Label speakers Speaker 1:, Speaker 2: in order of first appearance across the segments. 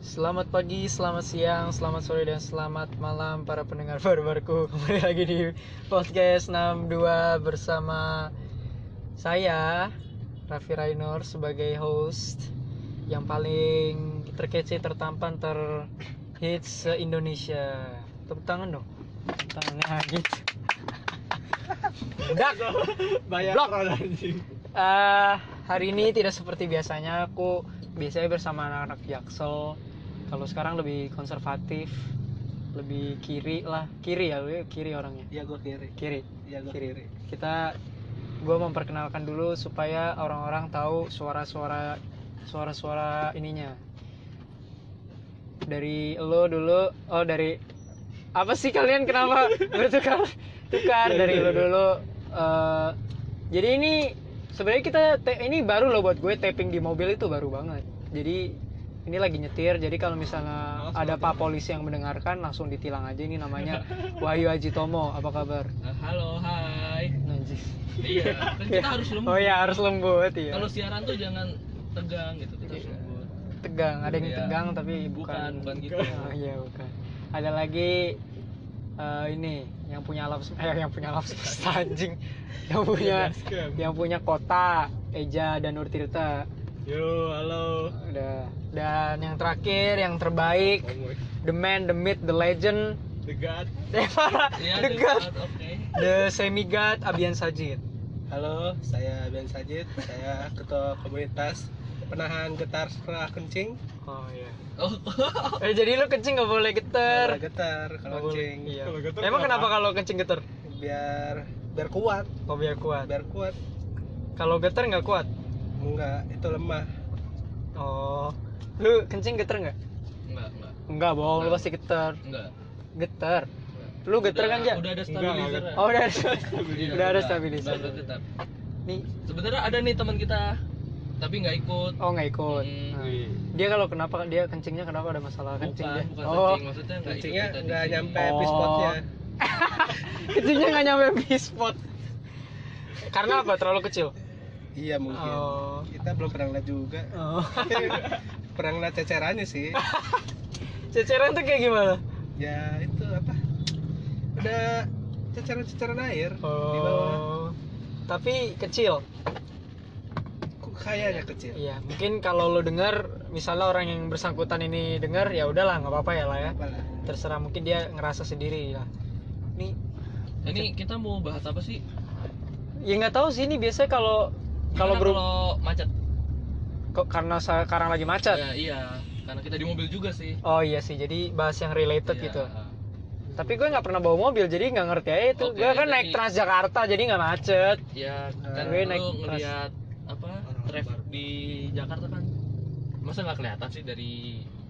Speaker 1: Selamat pagi, selamat siang, selamat sore, dan selamat malam para pendengar baru-baruku Kembali lagi di podcast 62 bersama saya, Raffi Rainur sebagai host Yang paling terkece, tertampan, terhits se-Indonesia Tepuk tangan dong Tepuk tangannya gitu Dak!
Speaker 2: Bayar
Speaker 1: Blok.
Speaker 2: peran anjing.
Speaker 1: Eh, hari ini tidak seperti biasanya aku biasanya bersama anak-anak jaksel kalau sekarang lebih konservatif lebih kiri lah kiri ya lu kiri orangnya
Speaker 2: Iya gua kiri.
Speaker 1: kiri
Speaker 2: Iya gua
Speaker 1: Kiri.
Speaker 2: kiri.
Speaker 1: kita gue memperkenalkan dulu supaya orang-orang tahu suara-suara suara-suara ininya dari lo dulu oh dari apa sih kalian kenapa bertukar tukar dari lo dulu Eh, jadi ini sebenarnya kita te- ini baru lo buat gue taping di mobil itu baru banget jadi ini lagi nyetir jadi kalau misalnya
Speaker 2: Langsung
Speaker 1: ada pak polisi yang mendengarkan langsung ditilang aja ini namanya Wahyu Aji Tomo apa kabar
Speaker 3: Nah, halo, hai.
Speaker 1: Najis.
Speaker 3: Iya, kan kita harus lembut.
Speaker 1: Oh ya harus lembut ya.
Speaker 3: Kalau siaran tuh jangan tegang gitu, kita harus
Speaker 1: Iya.
Speaker 3: lembut.
Speaker 1: tegang, ada yang
Speaker 3: Iya.
Speaker 1: tegang tapi
Speaker 3: Bukan,
Speaker 1: bukan.
Speaker 3: bukan gitu.
Speaker 1: Oh iya bukan. Ada lagi eh, ini yang punya alam sem- eh, yang punya alam semesta anjing. Yang punya
Speaker 2: Iya,
Speaker 3: Iya.
Speaker 1: Iya.
Speaker 2: Basecamp.
Speaker 1: yang punya kota Eja dan Nur Tirta.
Speaker 2: Yo, halo.
Speaker 1: Udah. Dan yang terakhir, yang terbaik,
Speaker 2: Omoy.
Speaker 1: the man, the myth, the legend, Eh,
Speaker 2: The God.
Speaker 3: Iya,
Speaker 1: the god,
Speaker 3: dekat, Oke.
Speaker 1: the semi god Abian Sajid.
Speaker 2: Halo, saya Ben Sajid, saya ketua komunitas penahan getar setelah kencing.
Speaker 1: Oh iya.
Speaker 3: Oh,
Speaker 1: Eh jadi lu kencing gak boleh geter.
Speaker 2: Kalau getar, kalau kencing
Speaker 1: Iya.
Speaker 2: Kalau getar
Speaker 1: Emang kenapa kalau kencing geter?
Speaker 2: biar biar kuat,
Speaker 1: Oh biar kuat.
Speaker 2: biar kuat.
Speaker 1: Kalau geter nggak kuat.
Speaker 2: Enggak, itu lemah.
Speaker 1: Oh. Lu kencing geter nggak?
Speaker 3: enggak, enggak.
Speaker 1: Enggak bohong, lu pasti geter.
Speaker 3: Enggak.
Speaker 1: Geter. Lu geter
Speaker 3: Udah-
Speaker 1: kan, Ja?
Speaker 3: Udah ada
Speaker 2: Enggak, enggak.
Speaker 3: stabilizer.
Speaker 1: Oh, udah.
Speaker 3: Iya,
Speaker 1: udah ada stabilizer.
Speaker 3: Udah, udah tetap.
Speaker 1: Nih,
Speaker 3: Sebenarnya ada nih teman kita, tapi nggak ikut.
Speaker 1: oh nggak ikut.
Speaker 3: Hmm.
Speaker 1: Nah, Dia kalau kenapa dia kencingnya kenapa ada masalah kencing
Speaker 3: Bukan,
Speaker 1: dia?
Speaker 3: bukan
Speaker 1: oh,
Speaker 3: kencing, maksudnya nggak ikut
Speaker 2: Kencingnya
Speaker 3: kita di
Speaker 2: enggak
Speaker 3: sini.
Speaker 2: nyampe
Speaker 1: Oh.
Speaker 2: pispotnya.
Speaker 1: kencingnya nggak nyampe bispot. Karena apa? Terlalu kecil.
Speaker 2: Iya mungkin.
Speaker 1: Oh.
Speaker 2: Kita belum pernah lihat juga.
Speaker 1: Oh.
Speaker 2: pernah lihat cecerannya sih.
Speaker 1: Ceceran tuh kayak gimana?
Speaker 2: ya itu apa ada ceceran-ceceran air di
Speaker 1: Oh.
Speaker 2: bawah
Speaker 1: Tapi kecil.
Speaker 2: Ku- kayaknya kecil
Speaker 1: Iya, mungkin kalau lu dengar misalnya orang yang bersangkutan ini dengar ya udahlah nggak apa-apa ya lah ya.
Speaker 2: apalah
Speaker 1: terserah mungkin dia ngerasa sendiri lah ini
Speaker 3: Ini kita mau bahas apa sih?
Speaker 1: ya nggak tahu sih ini biasanya kalau kalau
Speaker 3: Karena
Speaker 1: beru
Speaker 3: kalau macet.
Speaker 1: kok karena sekarang lagi macet
Speaker 3: Ya, iya, karena kita di mobil juga sih.
Speaker 1: oh iya sih jadi bahas yang related
Speaker 3: Iya.
Speaker 1: gitu tapi gue nggak pernah bawa mobil jadi nggak ngerti aja itu
Speaker 3: Oke,
Speaker 1: gue kan naik
Speaker 3: jadi-
Speaker 1: Transjakarta jadi nggak macet
Speaker 3: Ya kan
Speaker 1: Gue naik
Speaker 3: lu
Speaker 1: kelas.
Speaker 3: ngelihat apa
Speaker 2: Orang-orang
Speaker 3: traffic
Speaker 2: baru.
Speaker 3: di Jakarta kan masa nggak kelihatan sih dari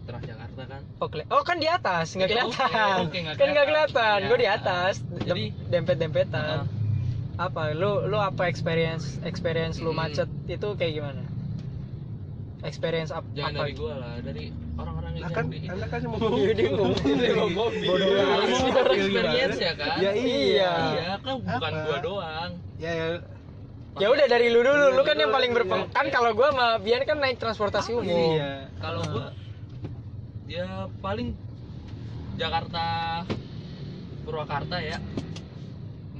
Speaker 3: Trans Jakarta kan
Speaker 1: oh, keli- oh kan di atas nggak
Speaker 3: Oke,
Speaker 1: kelihatan
Speaker 3: oke, nggak
Speaker 1: kan nggak kelihatan
Speaker 3: kelihatan.
Speaker 1: gue di
Speaker 3: Ya.
Speaker 1: atas
Speaker 3: Jadi- Ah.
Speaker 1: dempet dempetan apa lu lu apa experience experience lu
Speaker 3: Mm.
Speaker 1: macet itu kayak gimana experience ap-
Speaker 3: jangan
Speaker 1: apa
Speaker 3: dari gua lah dari orang-orang yang
Speaker 2: Lah kan
Speaker 3: di
Speaker 2: anda kan mau
Speaker 1: Iya, dia ngomong. Dia
Speaker 2: ngomong
Speaker 1: Bodoh
Speaker 3: Iya,
Speaker 1: amat.
Speaker 3: lu
Speaker 2: Iya,
Speaker 3: experience
Speaker 2: gimana?
Speaker 3: ya kan
Speaker 2: ya iya
Speaker 3: iya kan bukan
Speaker 2: Apa?
Speaker 3: gua doang
Speaker 2: ya, ya.
Speaker 1: ya udah dari lu dulu lu
Speaker 2: Lu
Speaker 1: kan yang
Speaker 2: dulu,
Speaker 1: paling
Speaker 2: iya.
Speaker 1: berpeng kan kalau gua sama Bian kan naik transportasi
Speaker 3: Ah,
Speaker 1: umum
Speaker 2: iya
Speaker 3: kalau gua ya paling Jakarta Purwakarta ya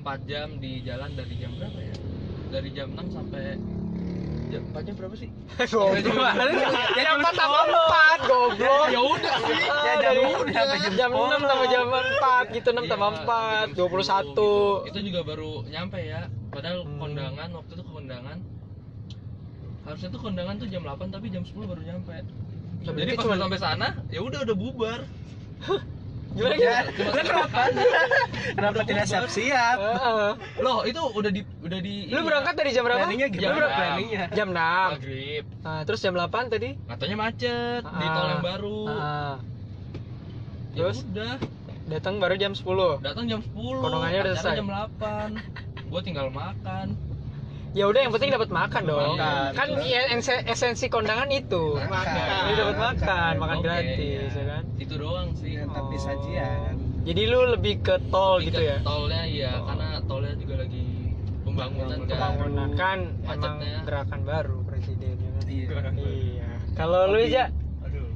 Speaker 3: 4 jam di jalan dari jam berapa ya dari jam 6 sampai jam 4 jam berapa sih Iya,
Speaker 1: goblok ya empat tambah empat goblok
Speaker 3: ya udah sih
Speaker 1: Oh, ya jam jam enam tambah jam empat gitu enam
Speaker 3: Iya,
Speaker 1: tambah empat
Speaker 3: sampai jam
Speaker 1: dua puluh
Speaker 3: 10
Speaker 1: satu
Speaker 3: gitu. Itu juga baru nyampe ya. Padahal
Speaker 1: Hmm.
Speaker 3: kondangan waktu itu ke kondangan. Harusnya tuh kondangan tuh jam 8 tapi jam 10 baru nyampe.
Speaker 1: Lah,
Speaker 3: Jadi
Speaker 1: berarti
Speaker 3: pas
Speaker 1: cuma-
Speaker 3: udah sampai sana, ya udah udah bubar.
Speaker 1: gimana Ah, gitu
Speaker 3: Cuma kenapa?
Speaker 2: kenapa tidak siap-siap
Speaker 1: Heeh.
Speaker 3: Loh, itu udah di udah di
Speaker 1: lu berangkat ya? dari jam berapa
Speaker 2: planningnya
Speaker 3: Jam
Speaker 2: gimana
Speaker 3: berapa?
Speaker 2: planningnya
Speaker 1: jam enam
Speaker 3: maghrib.
Speaker 1: Nah, terus jam delapan tadi
Speaker 3: Katanya macet di tol yang
Speaker 1: Ah.
Speaker 3: baru.
Speaker 1: Ah,
Speaker 3: Ya
Speaker 1: Terus?
Speaker 3: udah,
Speaker 1: datang baru jam sepuluh
Speaker 3: datang jam 10.
Speaker 1: Kondangannya udah
Speaker 3: acara
Speaker 1: selesai.
Speaker 3: jam 8. Gua tinggal makan.
Speaker 1: ya udah yang penting dapat makan dong
Speaker 3: Makan.
Speaker 1: kan ya, ense- esensi kondangan itu
Speaker 2: Makan.
Speaker 1: Jadi dapat makan makan
Speaker 3: Oke,
Speaker 1: gratis
Speaker 3: iya.
Speaker 1: ya kan
Speaker 3: Itu doang sih.
Speaker 2: Ya, tapi
Speaker 1: Oh.
Speaker 2: sajian
Speaker 1: Jadi lu lebih ke tol
Speaker 3: Tapi
Speaker 1: gitu
Speaker 3: kan
Speaker 1: ya?
Speaker 3: Tolnya iya,
Speaker 1: Oh.
Speaker 3: karena tolnya juga lagi pembangunan
Speaker 2: ya.
Speaker 3: kan.
Speaker 1: Pembangunan kan emang
Speaker 3: Macetnya.
Speaker 1: gerakan baru presiden ya kan?
Speaker 2: iya
Speaker 1: Iya. Kalau lu aja
Speaker 2: aduh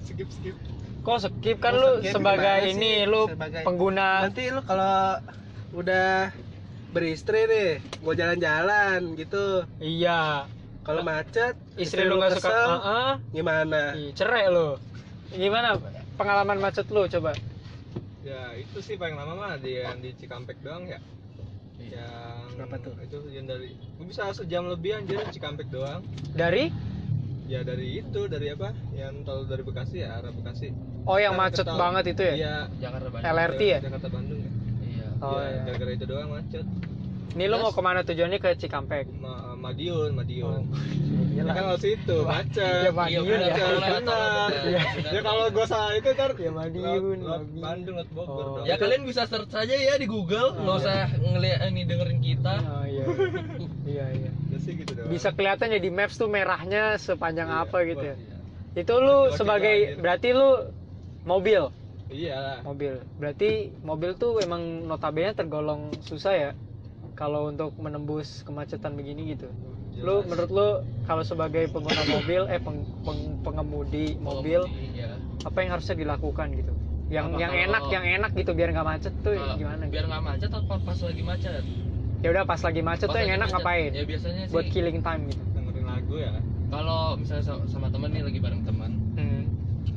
Speaker 2: skip skip
Speaker 1: Kok skip kan
Speaker 2: Kok
Speaker 1: lu
Speaker 2: skip?
Speaker 1: sebagai
Speaker 2: Gimana
Speaker 1: ini
Speaker 2: sih?
Speaker 1: lu
Speaker 2: gitu, Sebagai-
Speaker 1: pengguna
Speaker 2: nanti lu kalau udah beristri nih mau jalan-jalan gitu
Speaker 1: iya
Speaker 2: kalau macet
Speaker 1: istri, lu nggak suka Ah,
Speaker 2: kesel,
Speaker 1: Heeh.
Speaker 2: gimana
Speaker 1: Ih, cerai lu gimana pengalaman macet lu coba
Speaker 4: ya itu sih paling lama mah di yang di Cikampek doang ya
Speaker 3: Iya.
Speaker 4: yang
Speaker 2: Kenapa tuh?
Speaker 4: itu yang dari gua bisa sejam lebih anjir di Cikampek doang
Speaker 1: dari
Speaker 4: ya dari itu dari apa yang tol dari Bekasi ya arah Bekasi
Speaker 1: oh yang
Speaker 4: Nah,
Speaker 1: macet
Speaker 4: ketau-
Speaker 1: banget itu ya
Speaker 4: iya
Speaker 3: Jakarta Bandung.
Speaker 1: LRT ya
Speaker 4: Jakarta Bandung ya
Speaker 3: Iya.
Speaker 1: oh
Speaker 4: Ya,
Speaker 1: iya
Speaker 4: gara-gara itu doang macet
Speaker 1: ini lu
Speaker 3: Terus?
Speaker 1: mau kemana tujuannya ke Cikampek
Speaker 4: Ma Madiun Madiun
Speaker 1: Oh.
Speaker 4: ya Iya. kan kalau situ
Speaker 1: Iya,
Speaker 4: macet
Speaker 1: Madiun ya.
Speaker 3: Iya, benar, kalau lewat tol
Speaker 4: benar
Speaker 3: ada-
Speaker 1: Iya.
Speaker 3: ada-
Speaker 4: ya kalau gua salah itu kan
Speaker 1: Ya, Madiun,
Speaker 4: lewat- lewat
Speaker 1: Madiun.
Speaker 4: Bandung lewat Bogor
Speaker 1: Oh.
Speaker 4: dong.
Speaker 3: Ya kalian bisa search aja ya di Google, nggak
Speaker 1: Iya.
Speaker 3: usah ngeliat eh, ini dengerin kita.
Speaker 1: oh iya iya iya
Speaker 4: Ya sih gitu doang
Speaker 1: bisa kelihatan ya di maps tuh merahnya sepanjang
Speaker 4: Iya,
Speaker 1: apa gitu ya
Speaker 3: Iya.
Speaker 1: itu lu
Speaker 4: Laki-laki
Speaker 1: sebagai
Speaker 4: lahir.
Speaker 1: berarti lu mobil
Speaker 4: iya lah
Speaker 1: mobil berarti mobil tuh emang notabene tergolong susah ya kalau untuk menembus kemacetan begini gitu lu
Speaker 4: Jelas.
Speaker 1: menurut lu kalau sebagai pengguna mobil eh peng- peng- pengemudi mobil
Speaker 3: Iya.
Speaker 1: apa yang harusnya dilakukan gitu yang
Speaker 3: Apa
Speaker 1: yang
Speaker 3: kalau-
Speaker 1: enak yang enak gitu biar nggak macet tuh
Speaker 3: Kalau-
Speaker 1: gimana gitu?
Speaker 3: Biar nggak macet atau pas lagi macet.
Speaker 1: ya udah pas lagi macet
Speaker 3: Pas
Speaker 1: tuh yang
Speaker 3: lagi
Speaker 1: enak
Speaker 3: macet.
Speaker 1: ngapain
Speaker 3: Ya biasanya sih.
Speaker 1: buat killing time gitu
Speaker 4: dengerin lagu ya
Speaker 3: Kalau misalnya sama, sama temen nih lagi bareng teman,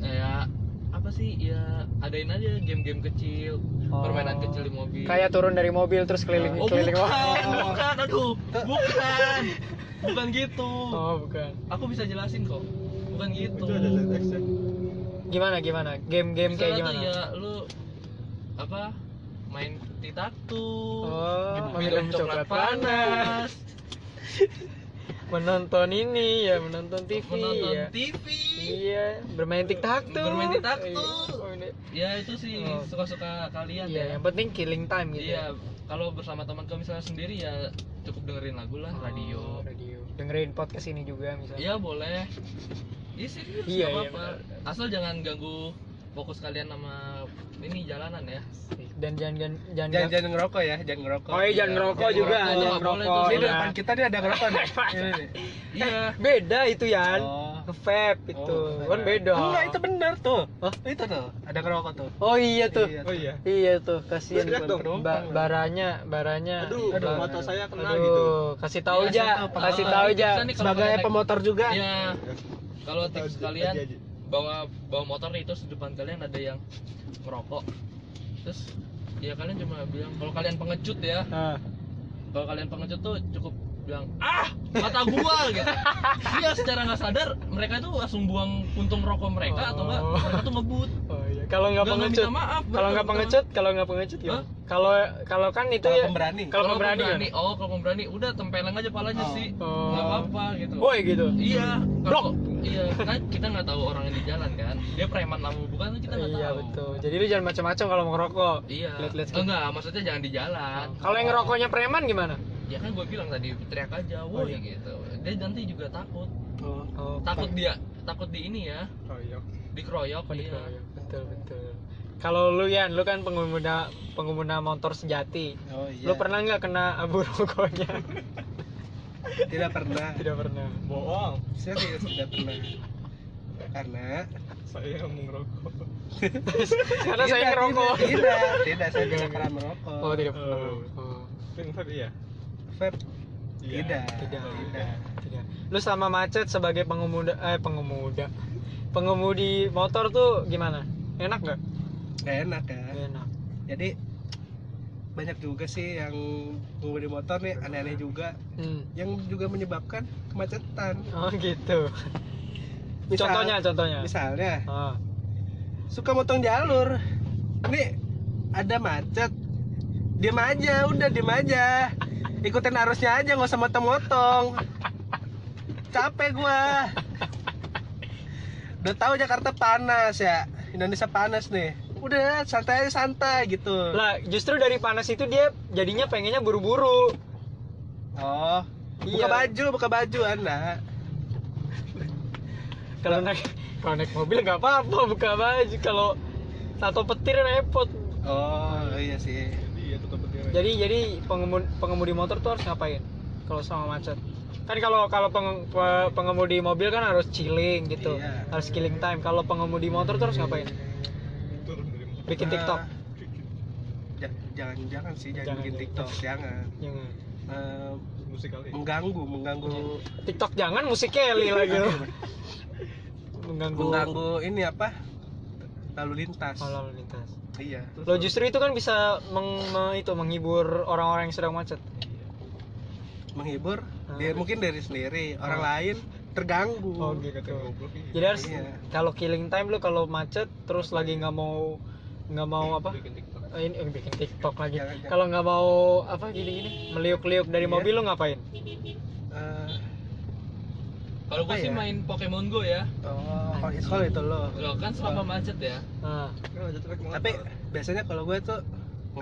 Speaker 3: ya apa sih ya adain aja game-game kecil,
Speaker 1: Oh.
Speaker 3: permainan kecil di mobil.
Speaker 1: kayak turun dari mobil terus keliling
Speaker 3: Oh bukan,
Speaker 1: keliling
Speaker 3: bukan, aduh, bukan, bukan gitu.
Speaker 1: oh bukan
Speaker 3: Aku bisa jelasin kok, bukan gitu.
Speaker 4: itu ada teksnya
Speaker 1: gimana gimana game-game
Speaker 3: Misalnya
Speaker 1: kayak
Speaker 3: tuh
Speaker 1: gimana
Speaker 3: ya lu apa main titatu,
Speaker 1: Oh, minum
Speaker 3: minum
Speaker 1: coklat
Speaker 3: coklat panas,
Speaker 1: menonton ini ya menonton TV
Speaker 3: menonton
Speaker 1: ya
Speaker 3: TV.
Speaker 1: iya bermain tiktok tuh
Speaker 3: Bermain tiktok tuh.
Speaker 1: Iya.
Speaker 3: Ya itu sih
Speaker 1: Oh.
Speaker 3: suka-suka kalian
Speaker 1: iya
Speaker 3: ya.
Speaker 1: yang penting killing time gitu
Speaker 3: Iya, kalau bersama teman kau misalnya sendiri ya cukup dengerin lagu lah, radio.
Speaker 1: radio dengerin podcast ini juga misalnya
Speaker 3: Iya boleh. Iya serius
Speaker 1: Iya,
Speaker 3: nggak
Speaker 1: iya,
Speaker 3: apa-apa. Asal jangan ganggu fokus kalian sama ini jalanan
Speaker 1: Eh,
Speaker 3: ya.
Speaker 1: dan jangan jangan jangan,
Speaker 2: jangan jangan ngerokok ya jangan ngerokok
Speaker 1: oh iya jangan
Speaker 3: Iya.
Speaker 1: ngerokok
Speaker 3: Jangan
Speaker 1: juga
Speaker 3: ngerokok,
Speaker 1: jangan
Speaker 3: nggak boleh
Speaker 1: ngerokok
Speaker 3: tuh.
Speaker 2: ini di
Speaker 1: ya.
Speaker 2: depan kita nih ada ngerokok nih Ini nih.
Speaker 3: Iya.
Speaker 1: beda itu ya
Speaker 2: Oh.
Speaker 1: vape itu
Speaker 2: Oh,
Speaker 1: kan beda
Speaker 2: enggak itu bener tuh
Speaker 1: Hah?
Speaker 2: itu tuh ada ngerokok tuh
Speaker 1: oh iya tuh
Speaker 2: Iya.
Speaker 4: oh iya
Speaker 1: iya tuh kasihan
Speaker 4: Lihat dong.
Speaker 1: Ba- baranya baranya
Speaker 4: aduh,
Speaker 2: Aduh.
Speaker 4: mata saya kena
Speaker 1: Iya. Aduh,
Speaker 4: gitu
Speaker 1: kasih tahu
Speaker 3: Iya,
Speaker 1: aja,
Speaker 2: saya tahu, Pak.
Speaker 1: kasih tahu
Speaker 3: Bisa
Speaker 1: aja.
Speaker 3: nih kalau
Speaker 2: sebagai
Speaker 3: kalian-
Speaker 2: pemotor juga
Speaker 3: Iya. Kalau
Speaker 4: Tahu
Speaker 3: tips
Speaker 4: aja,
Speaker 3: kalian
Speaker 4: aja, aja.
Speaker 3: bawa bawa motor nih terus di depan kalian ada yang merokok. Terus ya kalian cuma bilang kalau kalian pengecut ya,
Speaker 1: Nah,
Speaker 3: kalau kalian pengecut tuh cukup bilang ah mata gua gitu iya secara nggak sadar mereka itu langsung buang puntung rokok mereka atau enggak
Speaker 1: Oh.
Speaker 3: mereka tuh ngebut
Speaker 1: oh iya. Kalau nggak
Speaker 3: Nggak, nggak
Speaker 1: pengecut,
Speaker 3: minta maaf,
Speaker 1: kalau nggak
Speaker 3: nggak minta
Speaker 1: pengecut, kalau nggak pengecut
Speaker 3: Hah?
Speaker 1: gimana? Kalau kalau kan itu
Speaker 2: Kalau
Speaker 1: ya.
Speaker 2: pemberani
Speaker 1: Kalau pemberani kan?
Speaker 3: oh kalau pemberani udah tempeleng aja palanya
Speaker 2: Oh.
Speaker 3: sih
Speaker 1: Oh.
Speaker 3: nggak apa-apa gitu
Speaker 1: Boy gitu.
Speaker 3: iya
Speaker 1: Blok.
Speaker 3: kalau iya kan kita nggak tahu orang yang di jalan kan dia preman apa bukan kan kita nggak
Speaker 1: Iya
Speaker 3: tahu
Speaker 1: betul. Jadi lu jangan macam-macam kalau mau ngerokok.
Speaker 3: iya
Speaker 1: Lihat-lihat
Speaker 3: Eh,
Speaker 1: sekitar.
Speaker 3: enggak maksudnya jangan di jalan
Speaker 1: Kalau yang ngerokoknya preman gimana?
Speaker 3: ya kan gue bilang tadi teriak aja
Speaker 1: Oh,
Speaker 3: woi
Speaker 1: iya.
Speaker 3: gitu dia nanti juga takut
Speaker 2: Oh.
Speaker 1: Oh, iya.
Speaker 3: takut dia takut di ini ya
Speaker 4: Koyok.
Speaker 3: dikeroyok
Speaker 1: Oh,
Speaker 3: iya.
Speaker 1: dikeroyok. Betul betul. Kalau lu Yan, lu kan pengguna pengguna motor sejati.
Speaker 2: Oh iya.
Speaker 1: Lu pernah nggak kena abu rokoknya?
Speaker 2: Tidak pernah.
Speaker 1: Tidak pernah.
Speaker 4: bohong
Speaker 2: Serius tidak pernah. Karena
Speaker 4: saya mengerokok
Speaker 1: Karena saya
Speaker 2: Tidak,
Speaker 1: ngerokok.
Speaker 2: Tidak, tidak, tidak saya tidak pernah merokok.
Speaker 1: Oh, tidak pernah.
Speaker 4: Oh.
Speaker 1: Oh,
Speaker 4: pink vape iya
Speaker 2: Vape?
Speaker 4: Iya.
Speaker 2: Tidak,
Speaker 1: Tidak.
Speaker 2: tidak,
Speaker 1: tidak. Iya. Lu sama macet sebagai pengemuda eh pengemuda. Pengemudi motor tuh gimana? Enak nggak?
Speaker 2: Nggak enak ya.
Speaker 1: Enak.
Speaker 2: Jadi banyak juga sih yang pengemudi motor nih aneh-aneh juga
Speaker 1: Hmm.
Speaker 2: yang juga menyebabkan kemacetan.
Speaker 1: Oh gitu.
Speaker 2: Misal-
Speaker 1: contohnya, contohnya.
Speaker 2: Misalnya
Speaker 1: Ah.
Speaker 2: suka motong jalur. Nih ada macet. Diam aja, udah diam aja. Ikutin arusnya aja, nggak usah motong-motong. Capek gua. Udah tahu Jakarta panas ya. Indonesia panas nih. Udah santai aja, santai gitu.
Speaker 1: Lah, justru dari panas itu dia jadinya pengennya buru-buru.
Speaker 2: Oh. Buka
Speaker 1: Iya.
Speaker 2: baju, buka baju anak.
Speaker 1: Kalau naik kalau naik mobil nggak apa-apa buka baju. Kalau atau petir repot.
Speaker 2: Oh, iya sih.
Speaker 4: jadi ya tutup petirnya
Speaker 1: Jadi jadi pengemudi, pengemudi motor tuh harus ngapain? Kalau sama macet. kan kalau kalau peng- pe- pengemudi mobil kan harus chilling gitu
Speaker 2: Iya.
Speaker 1: harus killing time kalau pengemudi motor terus ngapain
Speaker 4: turun dari motor
Speaker 1: bikin
Speaker 2: Eh,
Speaker 1: tiktok
Speaker 2: ja- jangan jangan sih jangan,
Speaker 1: Jangan
Speaker 2: bikin
Speaker 1: ya.
Speaker 2: tiktok jangan
Speaker 1: jangan
Speaker 2: Eh,
Speaker 4: musik kali
Speaker 2: mengganggu mengganggu
Speaker 1: tiktok jangan musik Kelly lagi loh. mengganggu
Speaker 2: mengganggu ini apa lalu lintas
Speaker 1: oh, lalu lintas
Speaker 2: iya
Speaker 1: lo justru itu kan bisa meng- me- itu menghibur orang-orang yang sedang macet
Speaker 2: menghibur
Speaker 1: Ah.
Speaker 2: dia mungkin dari sendiri orang
Speaker 1: Ah.
Speaker 2: lain terganggu
Speaker 1: oh gitu
Speaker 4: Kata goblok ini.
Speaker 1: jadi harus
Speaker 2: Iya.
Speaker 1: kalau killing time lo kalau macet terus lagi nggak mau nggak mau apa
Speaker 4: Iya, bikin tiktok
Speaker 1: Eh, ini eh, bikin TikTok lagi.
Speaker 2: Jangan, jangan.
Speaker 1: Kalau nggak mau apa gini-gini, meliuk-liuk dari
Speaker 2: Iya.
Speaker 1: mobil lo ngapain?
Speaker 2: Eh,
Speaker 3: Kalau gue
Speaker 2: Apa
Speaker 3: sih
Speaker 2: ya?
Speaker 3: main Pokemon Go ya.
Speaker 2: oh kalau itu- kalau itu lo
Speaker 3: Lo kan selama macet ya.
Speaker 1: Nah,
Speaker 4: kan aja trek motor
Speaker 2: tapi biasanya kalau gue tuh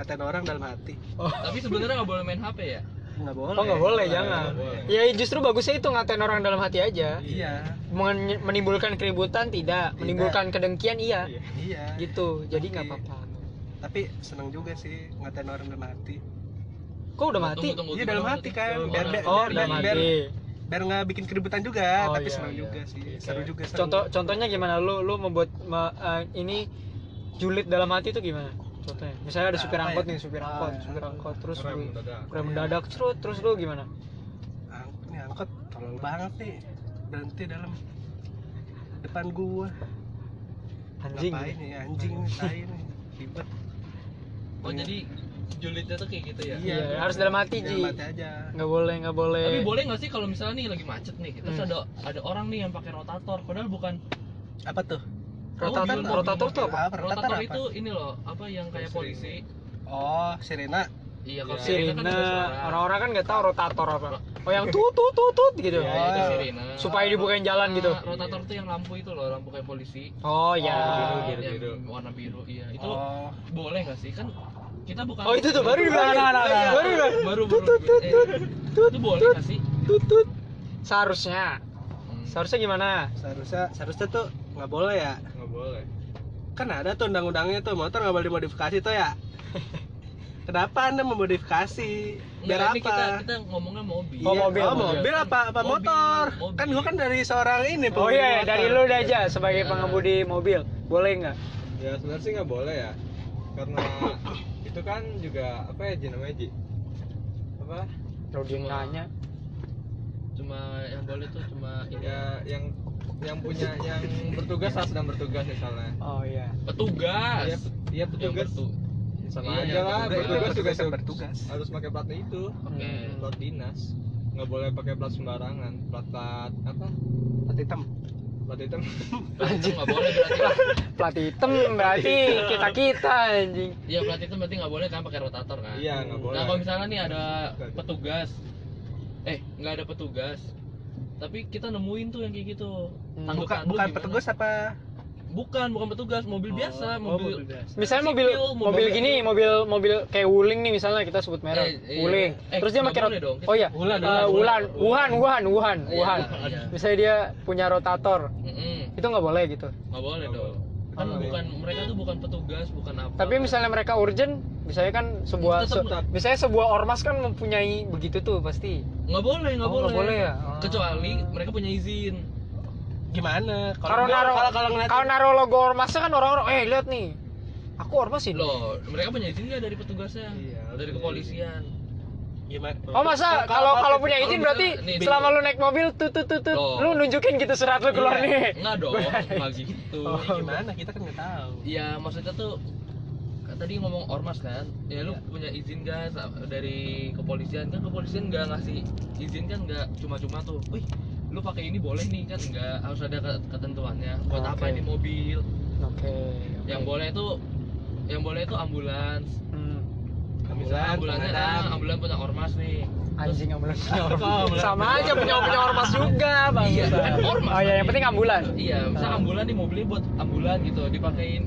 Speaker 2: ngatain orang dalam hati
Speaker 1: oh,
Speaker 3: Tapi sebenarnya nggak boleh main HP ya.
Speaker 2: nggak boleh
Speaker 1: oh nggak boleh, jangan.
Speaker 4: nggak boleh.
Speaker 1: Ya justru bagusnya itu ngatain orang dalam hati aja.
Speaker 2: iya
Speaker 1: Men- menimbulkan keributan tidak,
Speaker 2: Tidak.
Speaker 1: menimbulkan kedengkian iya.
Speaker 4: Iya.
Speaker 2: iya
Speaker 1: Gitu. Jadi nggak
Speaker 2: Oke.
Speaker 1: apa-apa.
Speaker 2: tapi seneng juga sih ngatain orang dalam hati
Speaker 1: Kok udah mati?
Speaker 3: Tunggu, tunggu,
Speaker 2: Iya
Speaker 3: gimana
Speaker 2: dalam hati
Speaker 3: maksudnya?
Speaker 2: kan
Speaker 4: Dalam
Speaker 2: biar
Speaker 4: hati.
Speaker 2: biar
Speaker 1: Oh,
Speaker 2: biar-
Speaker 1: udah
Speaker 2: biar
Speaker 1: mati.
Speaker 2: biar nggak bikin keributan juga
Speaker 1: Oh,
Speaker 2: tapi
Speaker 1: iya,
Speaker 2: seneng
Speaker 4: iya.
Speaker 2: juga sih
Speaker 1: Oke.
Speaker 2: seru juga seru.
Speaker 1: Contoh contohnya gimana lu lu membuat ma- eh, ini julid dalam hati itu gimana? Contohnya. Misalnya ada supir
Speaker 2: Apa
Speaker 1: angkot
Speaker 2: ya?
Speaker 1: nih, supir
Speaker 2: Ah,
Speaker 1: angkot,
Speaker 2: iya.
Speaker 1: supir angkot terus
Speaker 4: rem
Speaker 1: lu
Speaker 4: mendadak
Speaker 1: rem mendadak cerut, terus lu gimana?
Speaker 2: Ang- ini angkot tolol banget nih berhenti dalam depan gua
Speaker 1: Anjing.
Speaker 2: ngapain nih anjing nih tai nih ribet
Speaker 3: Oh jadi julidnya tuh kayak gitu ya.
Speaker 1: Iya, harus dalam hati, Ji.
Speaker 2: dalam hati aja
Speaker 1: nggak boleh nggak boleh
Speaker 3: Tapi boleh nggak sih kalau misalnya nih lagi macet nih, terus
Speaker 1: Hmm.
Speaker 3: ada ada orang nih yang pakai rotator, padahal bukan Oh,
Speaker 2: apa tuh Ah,
Speaker 1: rotator
Speaker 3: mobil,
Speaker 1: rotator tuh apa
Speaker 2: apa
Speaker 3: rotator itu ini loh, apa yang kayak
Speaker 4: Sirine.
Speaker 3: polisi?
Speaker 2: oh sirena
Speaker 3: Iya, kalau sirine kan
Speaker 1: sirine
Speaker 3: ada suara.
Speaker 1: orang-orang kan nggak tahu rotator apa oh yang tut tut tut tut gitu
Speaker 3: Iya, itu
Speaker 2: Oh.
Speaker 3: sirine.
Speaker 1: supaya dibukain jalan gitu
Speaker 3: Nah, rotator tuh yang lampu itu loh, lampu kayak polisi.
Speaker 1: oh ya
Speaker 4: Oh,
Speaker 3: Yang
Speaker 4: biru-biru.
Speaker 3: warna biru, iya. Itu
Speaker 2: oh
Speaker 3: boleh nggak sih? Kan kita bukan
Speaker 1: oh itu tuh baru dibilang
Speaker 2: Nah, nah, nah, nah.
Speaker 1: baru dibilang
Speaker 3: baru
Speaker 1: tut tut tut
Speaker 3: eh,
Speaker 1: tut tut
Speaker 3: itu boleh nggak sih?
Speaker 1: tut tut seharusnya
Speaker 3: Hmm.
Speaker 1: seharusnya gimana
Speaker 2: seharusnya seharusnya tuh nggak boleh ya
Speaker 4: nggak boleh
Speaker 2: kan ada tuh undang-undangnya tuh motor nggak boleh dimodifikasi tuh ya kenapa anda memodifikasi
Speaker 3: Nggak, ini
Speaker 2: biar apa
Speaker 3: Iya, kita kita ngomongnya mobil.
Speaker 1: Oh, mobil.
Speaker 2: oh, mobil apa apa
Speaker 3: Mobil,
Speaker 2: motor
Speaker 3: mobil.
Speaker 2: kan gua kan dari seorang
Speaker 1: oh
Speaker 2: ini pengemudi
Speaker 1: iya
Speaker 2: motor.
Speaker 1: dari lu udah aja sebagai pengemudi mobil boleh nggak
Speaker 4: ya sebenarnya sih nggak boleh ya karena itu kan juga apa ya Ji namanya Ji apa
Speaker 1: Lu dia
Speaker 3: Cuma-
Speaker 1: nanya
Speaker 3: Cuma yang boleh tuh cuma ini.
Speaker 2: Iya.
Speaker 4: ya yang yang punya yang bertugas saat sedang bertugas misalnya
Speaker 1: oh iya
Speaker 3: petugas.
Speaker 4: Iya, pet- iya
Speaker 3: Yang
Speaker 4: petugas
Speaker 3: bertu-
Speaker 4: sama
Speaker 3: Iya,
Speaker 4: aja lah
Speaker 3: petugas.
Speaker 4: bertugas juga
Speaker 2: Petugas yang
Speaker 4: se-
Speaker 2: bertugas.
Speaker 4: harus pakai platnya itu
Speaker 3: Oke.
Speaker 1: Hmm.
Speaker 4: plat dinas nggak boleh pakai plat sembarangan plat plat apa
Speaker 2: Plat hitam
Speaker 4: plat hitam
Speaker 3: Berarti itu nggak boleh berarti.
Speaker 1: plat hitam berarti kita kita anjing
Speaker 3: Iya, berarti itu berarti nggak boleh kan pakai rotator kan?
Speaker 4: iya nggak boleh
Speaker 3: Nah, kalau misalnya nih ada petugas. Eh, nggak ada petugas. Tapi kita nemuin tuh yang kayak gitu.
Speaker 1: Hmm.
Speaker 3: Tanggapan
Speaker 2: bukan
Speaker 3: lu
Speaker 2: bukan
Speaker 3: gimana?
Speaker 2: petugas apa
Speaker 3: Bukan, bukan petugas, mobil biasa,
Speaker 2: Oh,
Speaker 3: mobil.
Speaker 2: biasa.
Speaker 1: Misalnya mobil
Speaker 3: Sipil,
Speaker 1: mobil, gini, mobil mobil kayak Wuling nih misalnya kita sebut merek
Speaker 3: Eh, iya.
Speaker 1: Wuling.
Speaker 3: Eh,
Speaker 1: Terus dia
Speaker 3: nggak
Speaker 1: pakai
Speaker 3: boleh
Speaker 1: rot-
Speaker 3: dong.
Speaker 1: Oh iya.
Speaker 3: Wulan,
Speaker 1: Eh,
Speaker 3: Wulan,
Speaker 1: Wulan,
Speaker 3: Wulan.
Speaker 1: Wuhan, Wuhan, Wuhan,
Speaker 3: Iya,
Speaker 1: Wuhan.
Speaker 3: iya.
Speaker 1: Misalnya dia punya rotator,
Speaker 3: Mm-mm.
Speaker 1: itu nggak boleh gitu.
Speaker 3: nggak boleh
Speaker 4: Nggak
Speaker 3: dong kan
Speaker 1: Nggak
Speaker 3: bukan mereka tuh bukan petugas bukan apa
Speaker 1: Tapi misalnya mereka urgent, misalnya kan sebuah se-
Speaker 3: Tetep, tetep.
Speaker 1: misalnya sebuah ormas kan mempunyai begitu tuh pasti.
Speaker 3: nggak boleh nggak
Speaker 1: Oh,
Speaker 3: boleh
Speaker 1: nggak boleh ya? Ah.
Speaker 3: kecuali mereka punya izin
Speaker 2: gimana
Speaker 1: Kalau naro
Speaker 2: kalau kalau ngeliat
Speaker 1: kalau naro logo ormasnya kan orang-orang, eh lihat nih, aku ormas ini.
Speaker 3: loh mereka punya izin nggak dari petugasnya
Speaker 4: Iya,
Speaker 3: dari
Speaker 4: punya
Speaker 3: kepolisian
Speaker 2: gimana
Speaker 1: Oh masa kalau kalau punya
Speaker 3: kalau
Speaker 1: izin
Speaker 3: misalnya
Speaker 1: berarti
Speaker 3: nih,
Speaker 1: selama lu naik mobil tut tut tut, tut,
Speaker 3: Loh.
Speaker 1: lu nunjukin gitu surat lu keluar nih.
Speaker 3: nggak dong nggak gitu
Speaker 2: Ya,
Speaker 1: Oh.
Speaker 2: gimana kita kan nggak tahu
Speaker 3: ya maksudnya tuh kan tadi ngomong ormas kan ya lu
Speaker 1: Iya.
Speaker 3: punya izin gak sa- dari kepolisian kan kepolisian nggak ngasih izin kan nggak cuma-cuma tuh wih lu pakai ini boleh nih kan nggak harus ada ke- ketentuannya buat
Speaker 1: Oke.
Speaker 3: apa ini mobil
Speaker 1: Oke.
Speaker 3: yang boleh itu yang boleh itu ambulans
Speaker 1: Hmm.
Speaker 3: misalnya ambulannya
Speaker 2: pemadam.
Speaker 3: ah, ambulan punya ormas nih
Speaker 1: anjing ambulan punya
Speaker 2: Oh,
Speaker 1: ormas
Speaker 2: ambulan
Speaker 1: sama
Speaker 2: punya
Speaker 1: aja punya punya ormas juga bang
Speaker 3: Iya, kan ormas.
Speaker 1: oh iya yang penting ambulan
Speaker 3: iya misalnya
Speaker 1: Ah.
Speaker 3: ambulan nih mobilnya buat ambulan gitu dipakein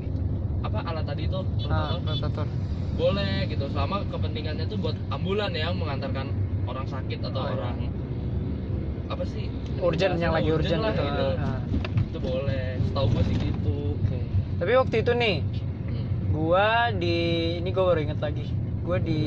Speaker 3: apa alat tadi itu
Speaker 1: ah
Speaker 3: rotator
Speaker 1: rotator
Speaker 3: boleh gitu selama kepentingannya tuh buat ambulan yang mengantarkan orang sakit atau
Speaker 1: Oh, iya.
Speaker 3: orang apa sih
Speaker 1: urgent yang lagi urgent
Speaker 3: lah,
Speaker 1: gitu
Speaker 3: gitu.
Speaker 1: Ah,
Speaker 3: itu boleh setahu gue sih gitu
Speaker 1: oke. tapi waktu itu nih
Speaker 3: Hmm.
Speaker 1: gua di ini gua baru inget lagi gua di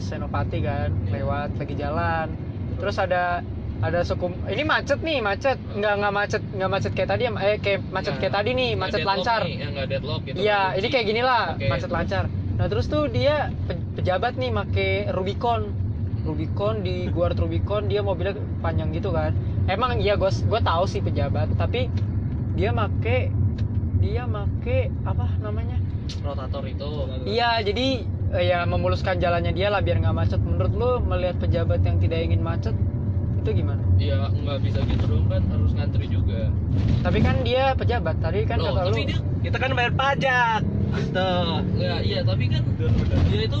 Speaker 1: Senopati kan lewat lagi jalan terus ada ada suku ini macet nih macet nggak nggak macet nggak macet kayak tadi em- eh kayak macet
Speaker 3: Nah,
Speaker 1: kayak tadi nih
Speaker 3: nggak
Speaker 1: macet
Speaker 3: deadlock
Speaker 1: lancar
Speaker 3: nih, ya, nggak deadlock gitu
Speaker 1: iya ini kayak gini lah
Speaker 3: Oke.
Speaker 1: macet lancar nah terus tuh dia pe- pejabat nih make Rubicon Rubicon di gua Art Rubicon dia mobilnya panjang gitu kan emang iya gua gua tahu sih pejabat tapi dia make dia make apa namanya
Speaker 3: rotator itu
Speaker 1: Iya, jadi eh, ya memuluskan jalannya dia lah biar nggak macet. Menurut lu melihat pejabat yang tidak ingin macet itu gimana?
Speaker 3: ya nggak bisa gitu dong kan harus ngantri juga
Speaker 1: Tapi kan dia pejabat. Tadi kan
Speaker 3: Loh,
Speaker 1: kata lu
Speaker 3: tapi dia
Speaker 2: Kita kan bayar pajak. Gitu.
Speaker 3: ya iya tapi kan dia itu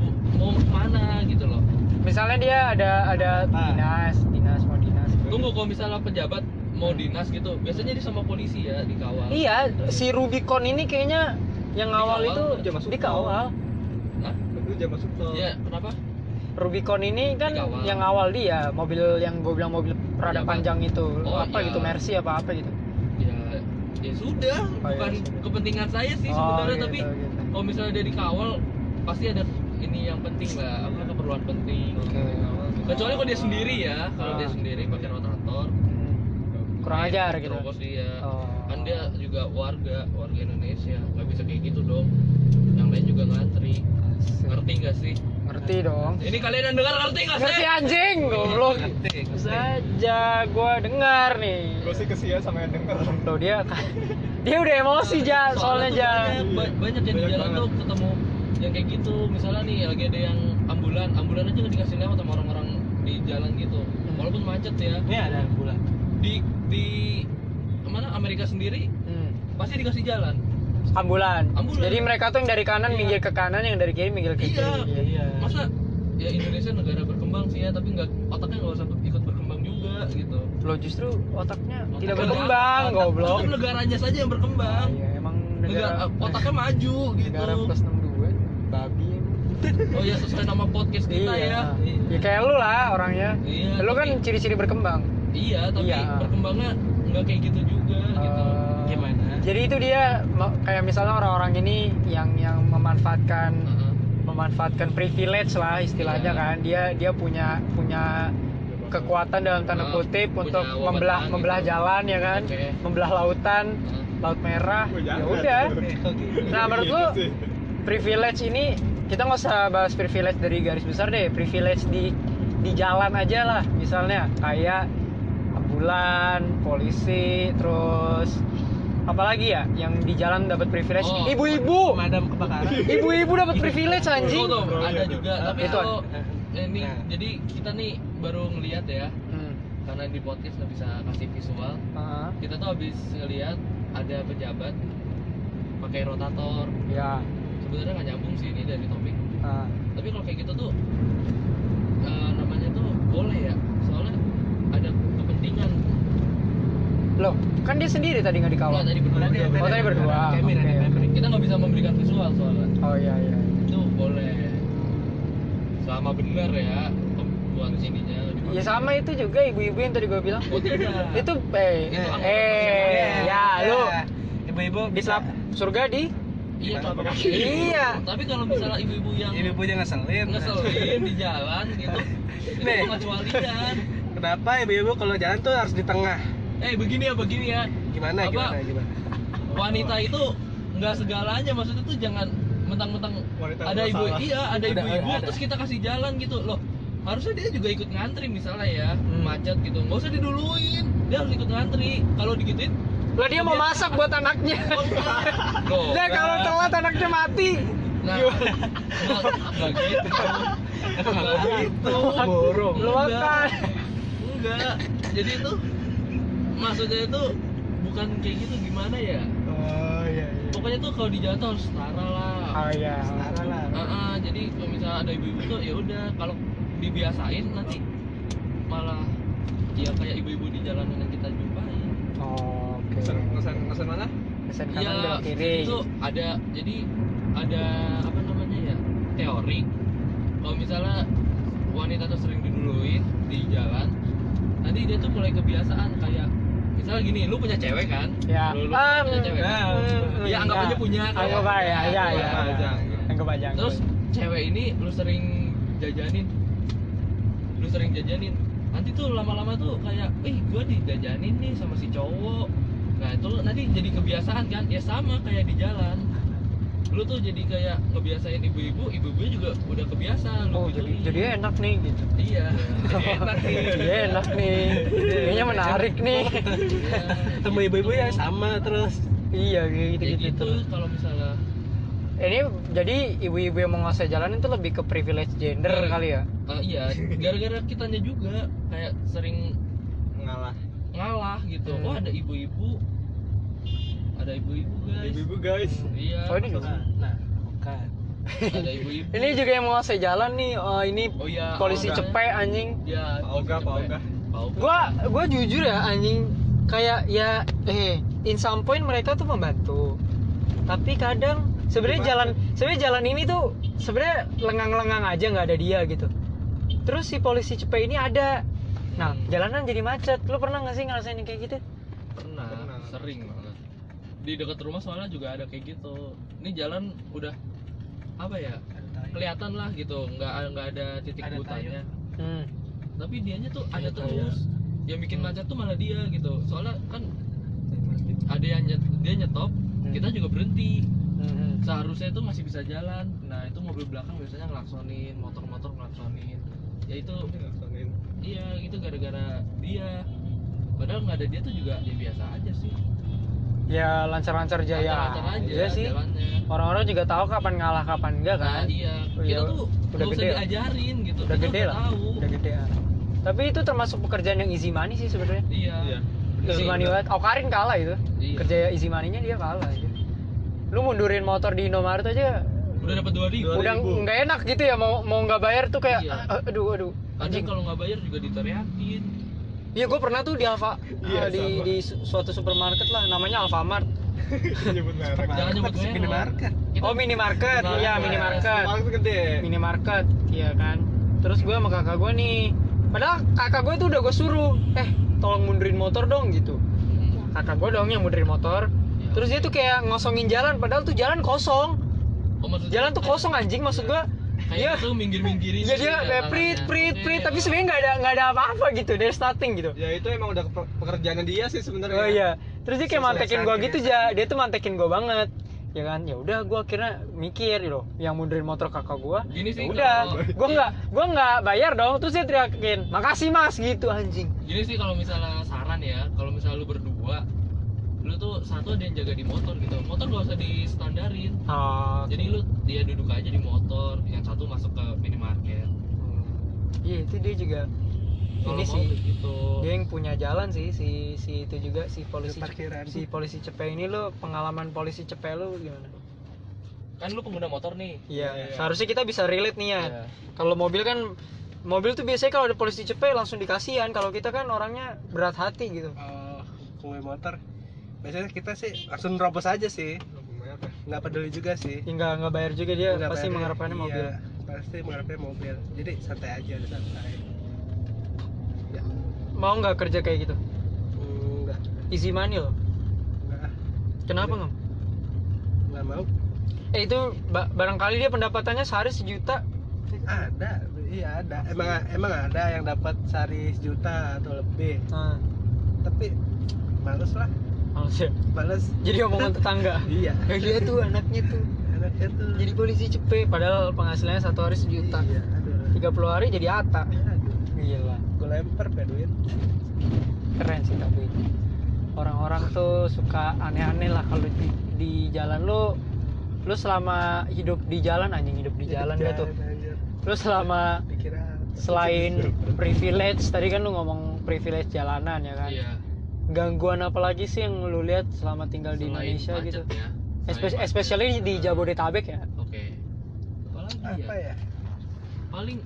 Speaker 3: bu- mau kemana gitu loh
Speaker 1: misalnya dia ada ada
Speaker 2: Ah.
Speaker 1: dinas, dinas mau dinas.
Speaker 3: tunggu kalau misalnya pejabat mau dinas gitu biasanya dia sama polisi ya dikawal
Speaker 1: Iya, si Rubicon ini kayaknya yang awal
Speaker 3: Dikawal,
Speaker 1: itu
Speaker 4: dia masuk
Speaker 1: dikawal.
Speaker 3: Hah?
Speaker 4: Lu jangan masuk tol.
Speaker 3: Iya, kenapa
Speaker 1: Rubicon ini kan
Speaker 3: Dikawal.
Speaker 1: yang awal dia, mobil yang gue bilang mobil
Speaker 3: Pejabat.
Speaker 1: rada panjang itu,
Speaker 3: Oh,
Speaker 1: apa
Speaker 3: iya.
Speaker 1: gitu Mercy apa apa gitu.
Speaker 3: ya ya sudah
Speaker 1: Oh, iya,
Speaker 3: bukan
Speaker 1: sudah.
Speaker 3: kepentingan saya sih
Speaker 1: Oh,
Speaker 3: sebenarnya
Speaker 1: gitu,
Speaker 3: tapi
Speaker 1: gitu.
Speaker 3: kalau misalnya dia dikawal pasti ada ini yang penting
Speaker 1: Iya.
Speaker 3: lah apa keperluan penting
Speaker 1: Oke.
Speaker 4: Nah,
Speaker 3: kecuali kalau dia sendiri ya kalau dia
Speaker 1: Ah.
Speaker 3: sendiri pakai rotator
Speaker 1: Hmm. Kurang
Speaker 3: dia
Speaker 1: ajar gitu.
Speaker 3: terobos dia
Speaker 1: Oh.
Speaker 3: kan dia juga warga warga Indonesia nggak bisa kayak gitu dong yang lain juga ngantri ngerti nggak sih
Speaker 1: Ngerti dong.
Speaker 3: ini kalian yang dengar ngerti nggak sih
Speaker 1: Ngerti anjing, goblok.
Speaker 3: Ngerti, ngerti.
Speaker 1: Saja gua dengar nih.
Speaker 4: Gue sih kesian sama yang denger.
Speaker 1: Loh dia kan- dia udah emosi ja soalnya
Speaker 3: tuh
Speaker 1: ja.
Speaker 3: banyak, ba- banyak yang di
Speaker 4: Banyak
Speaker 3: jalan
Speaker 4: banget.
Speaker 3: tuh ketemu yang kayak gitu misalnya nih lagi ada yang ambulan ambulan aja nggak dikasih lewat sama orang-orang di jalan gitu walaupun macet ya
Speaker 2: Ini ada bulan.
Speaker 3: di di mana Amerika sendiri
Speaker 1: Hmm.
Speaker 3: pasti dikasih jalan
Speaker 1: Ambulan.
Speaker 3: Ambulan.
Speaker 1: Jadi mereka tuh yang dari kanan
Speaker 3: Iya.
Speaker 1: minggir ke kanan, yang dari kiri minggir ke
Speaker 3: Iya.
Speaker 1: kiri.
Speaker 2: Iya.
Speaker 3: masa ya Indonesia negara berkembang sih ya tapi nggak otaknya nggak usah ikut berkembang juga gitu
Speaker 1: Lo justru otaknya
Speaker 3: Otak
Speaker 1: tidak
Speaker 3: negara-
Speaker 1: berkembang,
Speaker 3: otak-
Speaker 1: goblok.
Speaker 3: otak negaranya saja yang berkembang
Speaker 1: Iya, emang
Speaker 3: negara
Speaker 1: negara
Speaker 3: eh, otaknya maju gitu
Speaker 1: negara plus 62 babi.
Speaker 3: oh ya sesuai nama podcast kita
Speaker 1: Iya.
Speaker 3: ya
Speaker 1: Ya kayak lu lah orangnya.
Speaker 3: Iya,
Speaker 1: Lu
Speaker 3: tapi-
Speaker 1: kan ciri-ciri berkembang.
Speaker 3: Iya, tapi
Speaker 1: Iya.
Speaker 3: berkembangnya nggak kayak gitu juga gitu.
Speaker 1: Eh,
Speaker 2: Gimana?
Speaker 1: Jadi itu dia ma- kayak misalnya orang-orang ini yang yang memanfaatkan
Speaker 3: Heeh.
Speaker 1: memanfaatkan privilege lah istilahnya
Speaker 3: Iya.
Speaker 1: kan dia dia punya punya kekuatan dalam tanda
Speaker 3: Ah,
Speaker 1: kutip
Speaker 3: punya
Speaker 1: untuk
Speaker 3: wewenang
Speaker 1: membelah
Speaker 3: gitu.
Speaker 1: membelah jalan ya kan
Speaker 3: Oke.
Speaker 1: membelah lautan
Speaker 3: Heeh.
Speaker 1: laut merah
Speaker 4: Oh,
Speaker 1: ya
Speaker 4: jangan.
Speaker 1: udah
Speaker 2: Kok gitu?
Speaker 1: nah menurut
Speaker 4: Gitu
Speaker 1: lu
Speaker 4: sih.
Speaker 1: privilege ini kita nggak usah bahas privilege dari garis besar deh privilege di di jalan aja lah misalnya kayak ambulan polisi terus apalagi ya yang di jalan dapat privilege
Speaker 3: Oh,
Speaker 1: ibu-ibu
Speaker 2: Pemadam kebakaran.
Speaker 1: ibu-ibu dapat privilege
Speaker 3: Tuh,
Speaker 1: anjing
Speaker 3: tuh,
Speaker 4: Oh,
Speaker 3: ada
Speaker 4: iya,
Speaker 3: juga,
Speaker 4: tuh.
Speaker 3: tapi
Speaker 1: Itu
Speaker 3: kalau eh, ini
Speaker 2: Nah.
Speaker 3: jadi kita nih baru ngelihat ya,
Speaker 1: Hmm.
Speaker 3: karena di podcast nggak bisa kasih visual.
Speaker 1: Ah,
Speaker 3: Kita tuh habis ngelihat ada pejabat pakai rotator.
Speaker 1: ya
Speaker 3: Sebenarnya nggak nyambung sih ini dari topik.
Speaker 1: ah.
Speaker 3: Tapi kalau kayak gitu tuh eh, namanya tuh boleh ya, soalnya ada kepentingan.
Speaker 1: Loh, kan dia sendiri tadi nggak dikawal.
Speaker 3: Kalau tadi berdua,
Speaker 2: Tadi-
Speaker 1: Oh, tadi berdua.
Speaker 2: Kami ada
Speaker 1: Oke.
Speaker 2: member.
Speaker 3: kita nggak bisa memberikan visual soalnya.
Speaker 1: Oh iya iya.
Speaker 3: itu boleh selama benar ya pembuat ininya
Speaker 1: Ya sama itu juga ibu-ibu yang tadi gue bilang.
Speaker 3: Oh, tidak.
Speaker 1: itu eh
Speaker 2: Iya.
Speaker 1: eh ya lu
Speaker 2: Ibu-ibu
Speaker 1: di
Speaker 2: bisa.
Speaker 1: selap- surga di
Speaker 3: iya
Speaker 2: Tangan
Speaker 3: kalau
Speaker 2: kaki.
Speaker 1: Iya.
Speaker 3: tapi kalau misalnya ibu-ibu yang
Speaker 2: Ibu-ibu jangan ngeselin.
Speaker 3: ngeselin di jalan gitu itu
Speaker 2: Nih.
Speaker 3: pengecualian
Speaker 2: Kenapa ibu-ibu kalau jalan tuh harus di tengah?
Speaker 3: eh begini ya begini ya
Speaker 2: Gimana
Speaker 3: Apa?
Speaker 2: gimana gimana?
Speaker 3: wanita itu nggak segalanya maksudnya tuh jangan mentang-mentang
Speaker 4: Wanita
Speaker 3: ada
Speaker 4: nggak
Speaker 3: ibu
Speaker 4: salah.
Speaker 3: iya ada
Speaker 2: Ada-
Speaker 3: ibu-ibu
Speaker 2: ada.
Speaker 3: terus kita kasih jalan gitu loh harusnya dia juga ikut ngantri misalnya ya macet gitu nggak usah diduluin dia harus ikut ngantri kalau digituin oh,
Speaker 1: Lah dia mau masak buat anaknya.
Speaker 3: Loh,
Speaker 1: Lah kalau telat anaknya mati.
Speaker 3: Nah, nggak gitu. Nggak gitu.
Speaker 2: Borong.
Speaker 1: Lu makan.
Speaker 3: Enggak. Jadi itu maksudnya itu bukan kayak gitu gimana ya?
Speaker 1: Oh iya iya.
Speaker 3: Pokoknya tuh kalau di jalan tuh harus setara lah.
Speaker 1: Oh iya.
Speaker 2: Setara lah.
Speaker 3: Ah, ah, jadi kalau misalnya ada ibu-ibu tuh ya udah kalau dibiasain nanti malah ya kayak ibu-ibu di jalanan yang kita jumpai.
Speaker 1: Oh, Oke.
Speaker 4: Ngesan ngesan- ngesan mana?
Speaker 1: Pesan
Speaker 3: Iya,
Speaker 1: kanan belok kiri.
Speaker 3: itu ada jadi ada apa namanya ya teori kalau misalnya wanita tuh sering diduluin di jalan nanti dia tuh mulai kebiasaan kayak misalnya gini lu punya cewek kan
Speaker 1: Ya.
Speaker 3: lu, lu
Speaker 1: Ah,
Speaker 3: punya cewek kan?
Speaker 1: mm,
Speaker 3: ya anggap
Speaker 1: ya.
Speaker 3: aja punya kan?
Speaker 1: Anggap aja, ya, ya, ya.
Speaker 4: Nah, jangan.
Speaker 1: Yang kebayang.
Speaker 3: terus cewek ini lu sering jajanin lu sering jajanin nanti tuh lama-lama tuh kayak ih gua didajanin nih sama si cowok nah itu lu nanti jadi kebiasaan kan ya sama kayak di jalan lu tuh jadi kayak ngebiasain ibu-ibu ibu-ibu juga udah kebiasa lu
Speaker 1: oh jadi
Speaker 3: gituin.
Speaker 1: jadi enak nih gitu
Speaker 3: iya jadi enak Iya. nih
Speaker 1: jadi Iya, enak nih kayaknya menarik nih
Speaker 3: Iya,
Speaker 2: ketemu
Speaker 3: gitu.
Speaker 2: ibu-ibu ya sama terus
Speaker 1: iya kayak gitu
Speaker 3: Ya
Speaker 1: gitu
Speaker 3: gitu
Speaker 1: terus
Speaker 3: kalau misalnya gitu.
Speaker 1: ini jadi ibu-ibu yang menguasai jalan itu lebih ke privilege gender
Speaker 3: Hmm.
Speaker 1: kali ya
Speaker 3: eh, iya gara-gara kitanya juga kayak sering
Speaker 4: ngalah
Speaker 3: ngalah gitu
Speaker 1: Hmm.
Speaker 3: oh ada ibu-ibu ada ibu-ibu guys
Speaker 4: ibu-ibu guys
Speaker 3: iya
Speaker 1: oh ini juga
Speaker 2: nah, nah bukan
Speaker 3: ada ibu-ibu
Speaker 1: ini juga yang menguasai jalan nih oh, ini
Speaker 3: oh iya
Speaker 1: polisi
Speaker 3: orang.
Speaker 1: cepet anjing
Speaker 3: ya
Speaker 4: Pak Oga, Pak Oga.
Speaker 1: gua gua jujur ya anjing kayak ya eh in some point mereka tuh membantu tapi kadang sebenarnya
Speaker 4: Gimana?
Speaker 1: jalan sebenarnya jalan ini tuh sebenarnya lengang-lengang aja nggak ada dia gitu terus si polisi cepet ini ada nah
Speaker 3: Hmm.
Speaker 1: jalanan jadi macet lu pernah nggak sih ngerasain yang kayak gitu
Speaker 3: pernah,
Speaker 4: Pernah.
Speaker 3: sering banget di dekat rumah soalnya juga ada kayak gitu ini jalan udah apa ya kelihatan lah gitu nggak nggak ada titik
Speaker 2: Ada
Speaker 3: butanya
Speaker 1: hmm.
Speaker 3: tapi dianya tuh ada
Speaker 2: Ada
Speaker 3: terus yang bikin macet tuh malah dia gitu soalnya kan ada yang nyet, dia nyetop kita juga berhenti
Speaker 1: Hmm.
Speaker 3: seharusnya itu masih bisa jalan nah itu mobil belakang biasanya ngelaksonin motor-motor ngelaksonin ya itu iya itu gara-gara dia padahal nggak ada dia tuh juga ya biasa aja sih
Speaker 1: ya lancar-lancar jaya
Speaker 3: Lancar-lancar aja
Speaker 1: Iya sih
Speaker 3: jalannya
Speaker 1: orang-orang juga tahu kapan ngalah kapan enggak
Speaker 3: nah,
Speaker 1: kan
Speaker 3: iya
Speaker 1: Oh, iya.
Speaker 3: kita tuh
Speaker 1: Udah
Speaker 3: nggak usah
Speaker 1: gede lah.
Speaker 3: diajarin gitu
Speaker 1: udah
Speaker 3: Kita
Speaker 1: gede lah
Speaker 3: tahu
Speaker 1: udah gede ya. tapi itu termasuk pekerjaan yang easy money sih sebenarnya
Speaker 3: iya
Speaker 4: Iya.
Speaker 3: Bener,
Speaker 1: Easy money
Speaker 3: bener.
Speaker 1: banget. Oh Karin kalah itu.
Speaker 3: Iya.
Speaker 1: Kerja easy money-nya dia kalah aja. Lu mundurin motor di Indomaret aja
Speaker 3: udah dapat dua ribu
Speaker 1: udah nggak enak gitu ya mau mau nggak bayar tuh kayak
Speaker 3: Iya.
Speaker 1: "Ah, aduh aduh
Speaker 3: kadang
Speaker 1: anjing.
Speaker 3: kalau nggak bayar juga diteriakin
Speaker 1: Iya gue pernah tuh di Alfa
Speaker 4: Iya,
Speaker 1: ah, di
Speaker 4: sama.
Speaker 1: di su- suatu supermarket lah namanya Alfamart.
Speaker 4: nyebut merek
Speaker 3: Jangan nyebut
Speaker 2: Supermarket,
Speaker 3: merek.
Speaker 2: minimarket
Speaker 3: Kita-
Speaker 1: Oh minimarket,
Speaker 3: Minimarket.
Speaker 1: iya minimarket.
Speaker 4: Paling gede
Speaker 1: Minimarket, iya kan. Terus gue sama kakak gue nih, padahal kakak gue tuh udah gue suruh, eh tolong mundurin motor dong gitu.
Speaker 3: Hmm.
Speaker 1: Kakak gue dong yang mundurin motor.
Speaker 3: Iya.
Speaker 1: Terus dia tuh kayak ngosongin jalan, padahal tuh jalan kosong.
Speaker 3: Oh, maksudnya
Speaker 1: jalan tuh kosong anjing maksud gua
Speaker 3: kayak gitu,
Speaker 1: Iya.
Speaker 3: itu minggir-minggirin
Speaker 1: ya dia kayak
Speaker 3: tangannya.
Speaker 1: prit prit
Speaker 3: Oke,
Speaker 1: prit tapi
Speaker 3: ya.
Speaker 1: sebenarnya nggak ada nggak ada apa-apa gitu dari starting gitu
Speaker 4: ya itu emang udah pe- pekerjaannya dia sih sebenarnya
Speaker 1: oh iya terus dia kayak
Speaker 4: Sesuai
Speaker 1: mantekin gua
Speaker 4: target.
Speaker 1: gitu ja dia tuh mantekin gua banget ya kan ya udah gua akhirnya mikir loh yang mundurin motor kakak gua
Speaker 3: Gini sih
Speaker 1: Ya udah
Speaker 3: kalau-
Speaker 1: gua nggak gua nggak bayar dong terus dia teriakin makasih mas gitu anjing
Speaker 3: Gini sih kalau misalnya saran ya, kalau misalnya lu berdua, lu tuh satu ada yang jaga di motor gitu. Motor gak usah distandarin.
Speaker 1: ah
Speaker 3: Jadi lu dia duduk aja di motor, yang satu masuk ke minimarket.
Speaker 1: iya itu dia juga ini
Speaker 3: Kalau mau
Speaker 1: sih
Speaker 3: kayak gitu.
Speaker 1: dia yang punya jalan sih si si itu juga si polisi
Speaker 2: parkiran.
Speaker 1: si polisi cepe ini lo pengalaman polisi cepe lu gimana
Speaker 3: Kan lu pengguna motor nih.
Speaker 1: Iya,
Speaker 4: Iya.
Speaker 1: seharusnya kita bisa relate nih ya.
Speaker 3: Iya.
Speaker 1: Kalau mobil kan mobil tuh biasanya kalau ada polisi cepet langsung dikasihan. Kalau kita kan orangnya berat hati gitu.
Speaker 2: oh, kue motor biasanya kita sih langsung nerobos aja sih nggak peduli juga sih
Speaker 1: Hingga nggak bayar juga dia
Speaker 2: Nggak
Speaker 1: pasti
Speaker 2: bayar.
Speaker 1: mengharapkannya
Speaker 2: Iya,
Speaker 1: mobil.
Speaker 2: pasti mengharapkannya mobil jadi santai aja udah santai
Speaker 1: Mau nggak kerja kayak gitu?
Speaker 2: enggak
Speaker 1: Easy money loh.
Speaker 2: enggak ah.
Speaker 1: Kenapa nggak?
Speaker 2: enggak mau
Speaker 1: Eh itu ba- barangkali dia pendapatannya sehari sejuta.
Speaker 2: ada iya ada emang emang ada yang dapat sehari sejuta atau lebih
Speaker 1: Nah,
Speaker 2: tapi males lah
Speaker 1: males ya.
Speaker 2: males
Speaker 1: Jadi omongan tetangga.
Speaker 2: iya
Speaker 1: Ya dia tuh anaknya tuh
Speaker 2: anaknya tuh
Speaker 1: jadi polisi cepet padahal penghasilannya satu hari sejuta.
Speaker 2: iya aduh Iya,
Speaker 1: 30 hari jadi ata.
Speaker 2: aduh
Speaker 1: Gila.
Speaker 2: gue lempar pe duit
Speaker 1: keren sih tapi orang-orang tuh suka aneh-aneh lah kalau di, di jalan lu lu selama hidup di jalan anjing hidup di jalan gak tuh
Speaker 2: anjir.
Speaker 1: lu selama
Speaker 2: dikira
Speaker 1: selain privilege tadi kan lu ngomong privilege jalanan ya kan
Speaker 3: Iya.
Speaker 1: gangguan apa lagi sih yang lu lihat selama tinggal di
Speaker 3: Selain
Speaker 1: Indonesia
Speaker 3: macet
Speaker 1: gitu
Speaker 3: Ya. Selain
Speaker 1: Espe-
Speaker 3: macet.
Speaker 1: especially di Jabodetabek ya
Speaker 3: Oke. Apalagi
Speaker 2: apa
Speaker 3: ya?
Speaker 2: ya
Speaker 3: Paling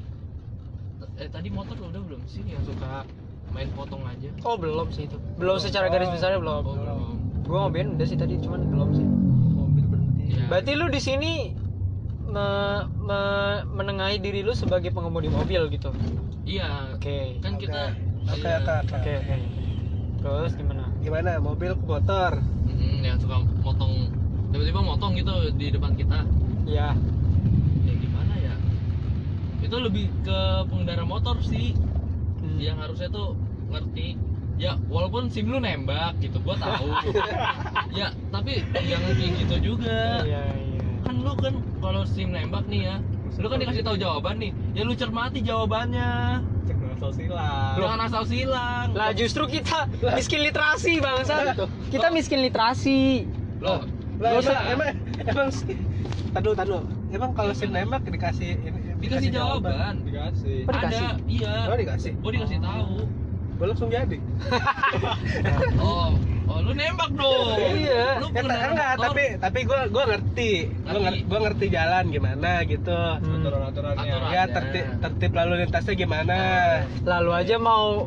Speaker 3: eh tadi motor lu udah belum sih yang suka main potong aja?
Speaker 1: oh belum sih itu belum secara garis besarnya belum
Speaker 3: Oh, belum.
Speaker 1: gua ngobain udah sih tadi cuman belum sih
Speaker 2: mobil berhenti
Speaker 3: Iya.
Speaker 1: berarti lu di sini me- me- menengahi diri lu sebagai pengemudi mobil gitu
Speaker 3: Iya.
Speaker 1: Oke.
Speaker 3: Kan kita
Speaker 2: oke
Speaker 3: kayak-
Speaker 2: oke oke
Speaker 1: Oke, oke. Terus gimana?
Speaker 2: gimana mobil ke motor
Speaker 3: Mm, yang suka motong tiba-tiba motong gitu di depan kita
Speaker 1: Ya,
Speaker 3: ya gimana ya itu lebih ke pengendara motor sih
Speaker 1: hmm,
Speaker 3: ya yang harusnya tuh ngerti ya walaupun sim lu nembak gitu gua tahu ya tapi jangan kayak gitu juga
Speaker 1: iya iya
Speaker 3: kan lu kan kalau sim nembak nih ya lu kan dikasih tahu jawaban nih ya lu cermati jawabannya
Speaker 4: cek asal silang
Speaker 3: jangan asal silang
Speaker 1: lah justru kita miskin literasi bangsa kita miskin literasi
Speaker 3: lo
Speaker 2: Lah,
Speaker 1: Lu
Speaker 2: emang,
Speaker 1: sa-
Speaker 2: emang emang tadu tadu. Emang kalau
Speaker 3: Iya,
Speaker 2: sin nembak dikasih ini
Speaker 3: dikasih jawaban
Speaker 4: dikasih
Speaker 1: Oh, dikasih?
Speaker 3: ada iya
Speaker 2: Oh dikasih.
Speaker 3: gua dikasih tahu
Speaker 2: Gua langsung jadi.
Speaker 3: oh oh lu nembak dong
Speaker 1: Iya.
Speaker 3: lu
Speaker 2: Ya, ta-
Speaker 3: pengendara
Speaker 2: enggak,
Speaker 3: motor.
Speaker 2: tapi tapi gua gua ngerti. Gua
Speaker 3: Tapi-
Speaker 2: ngerti, gua ngerti jalan gimana gitu.
Speaker 4: aturan
Speaker 1: Nah,
Speaker 4: aturannya
Speaker 3: Aturan.
Speaker 2: Ya tertib tertib lalu lintasnya gimana?
Speaker 1: lalu aja mau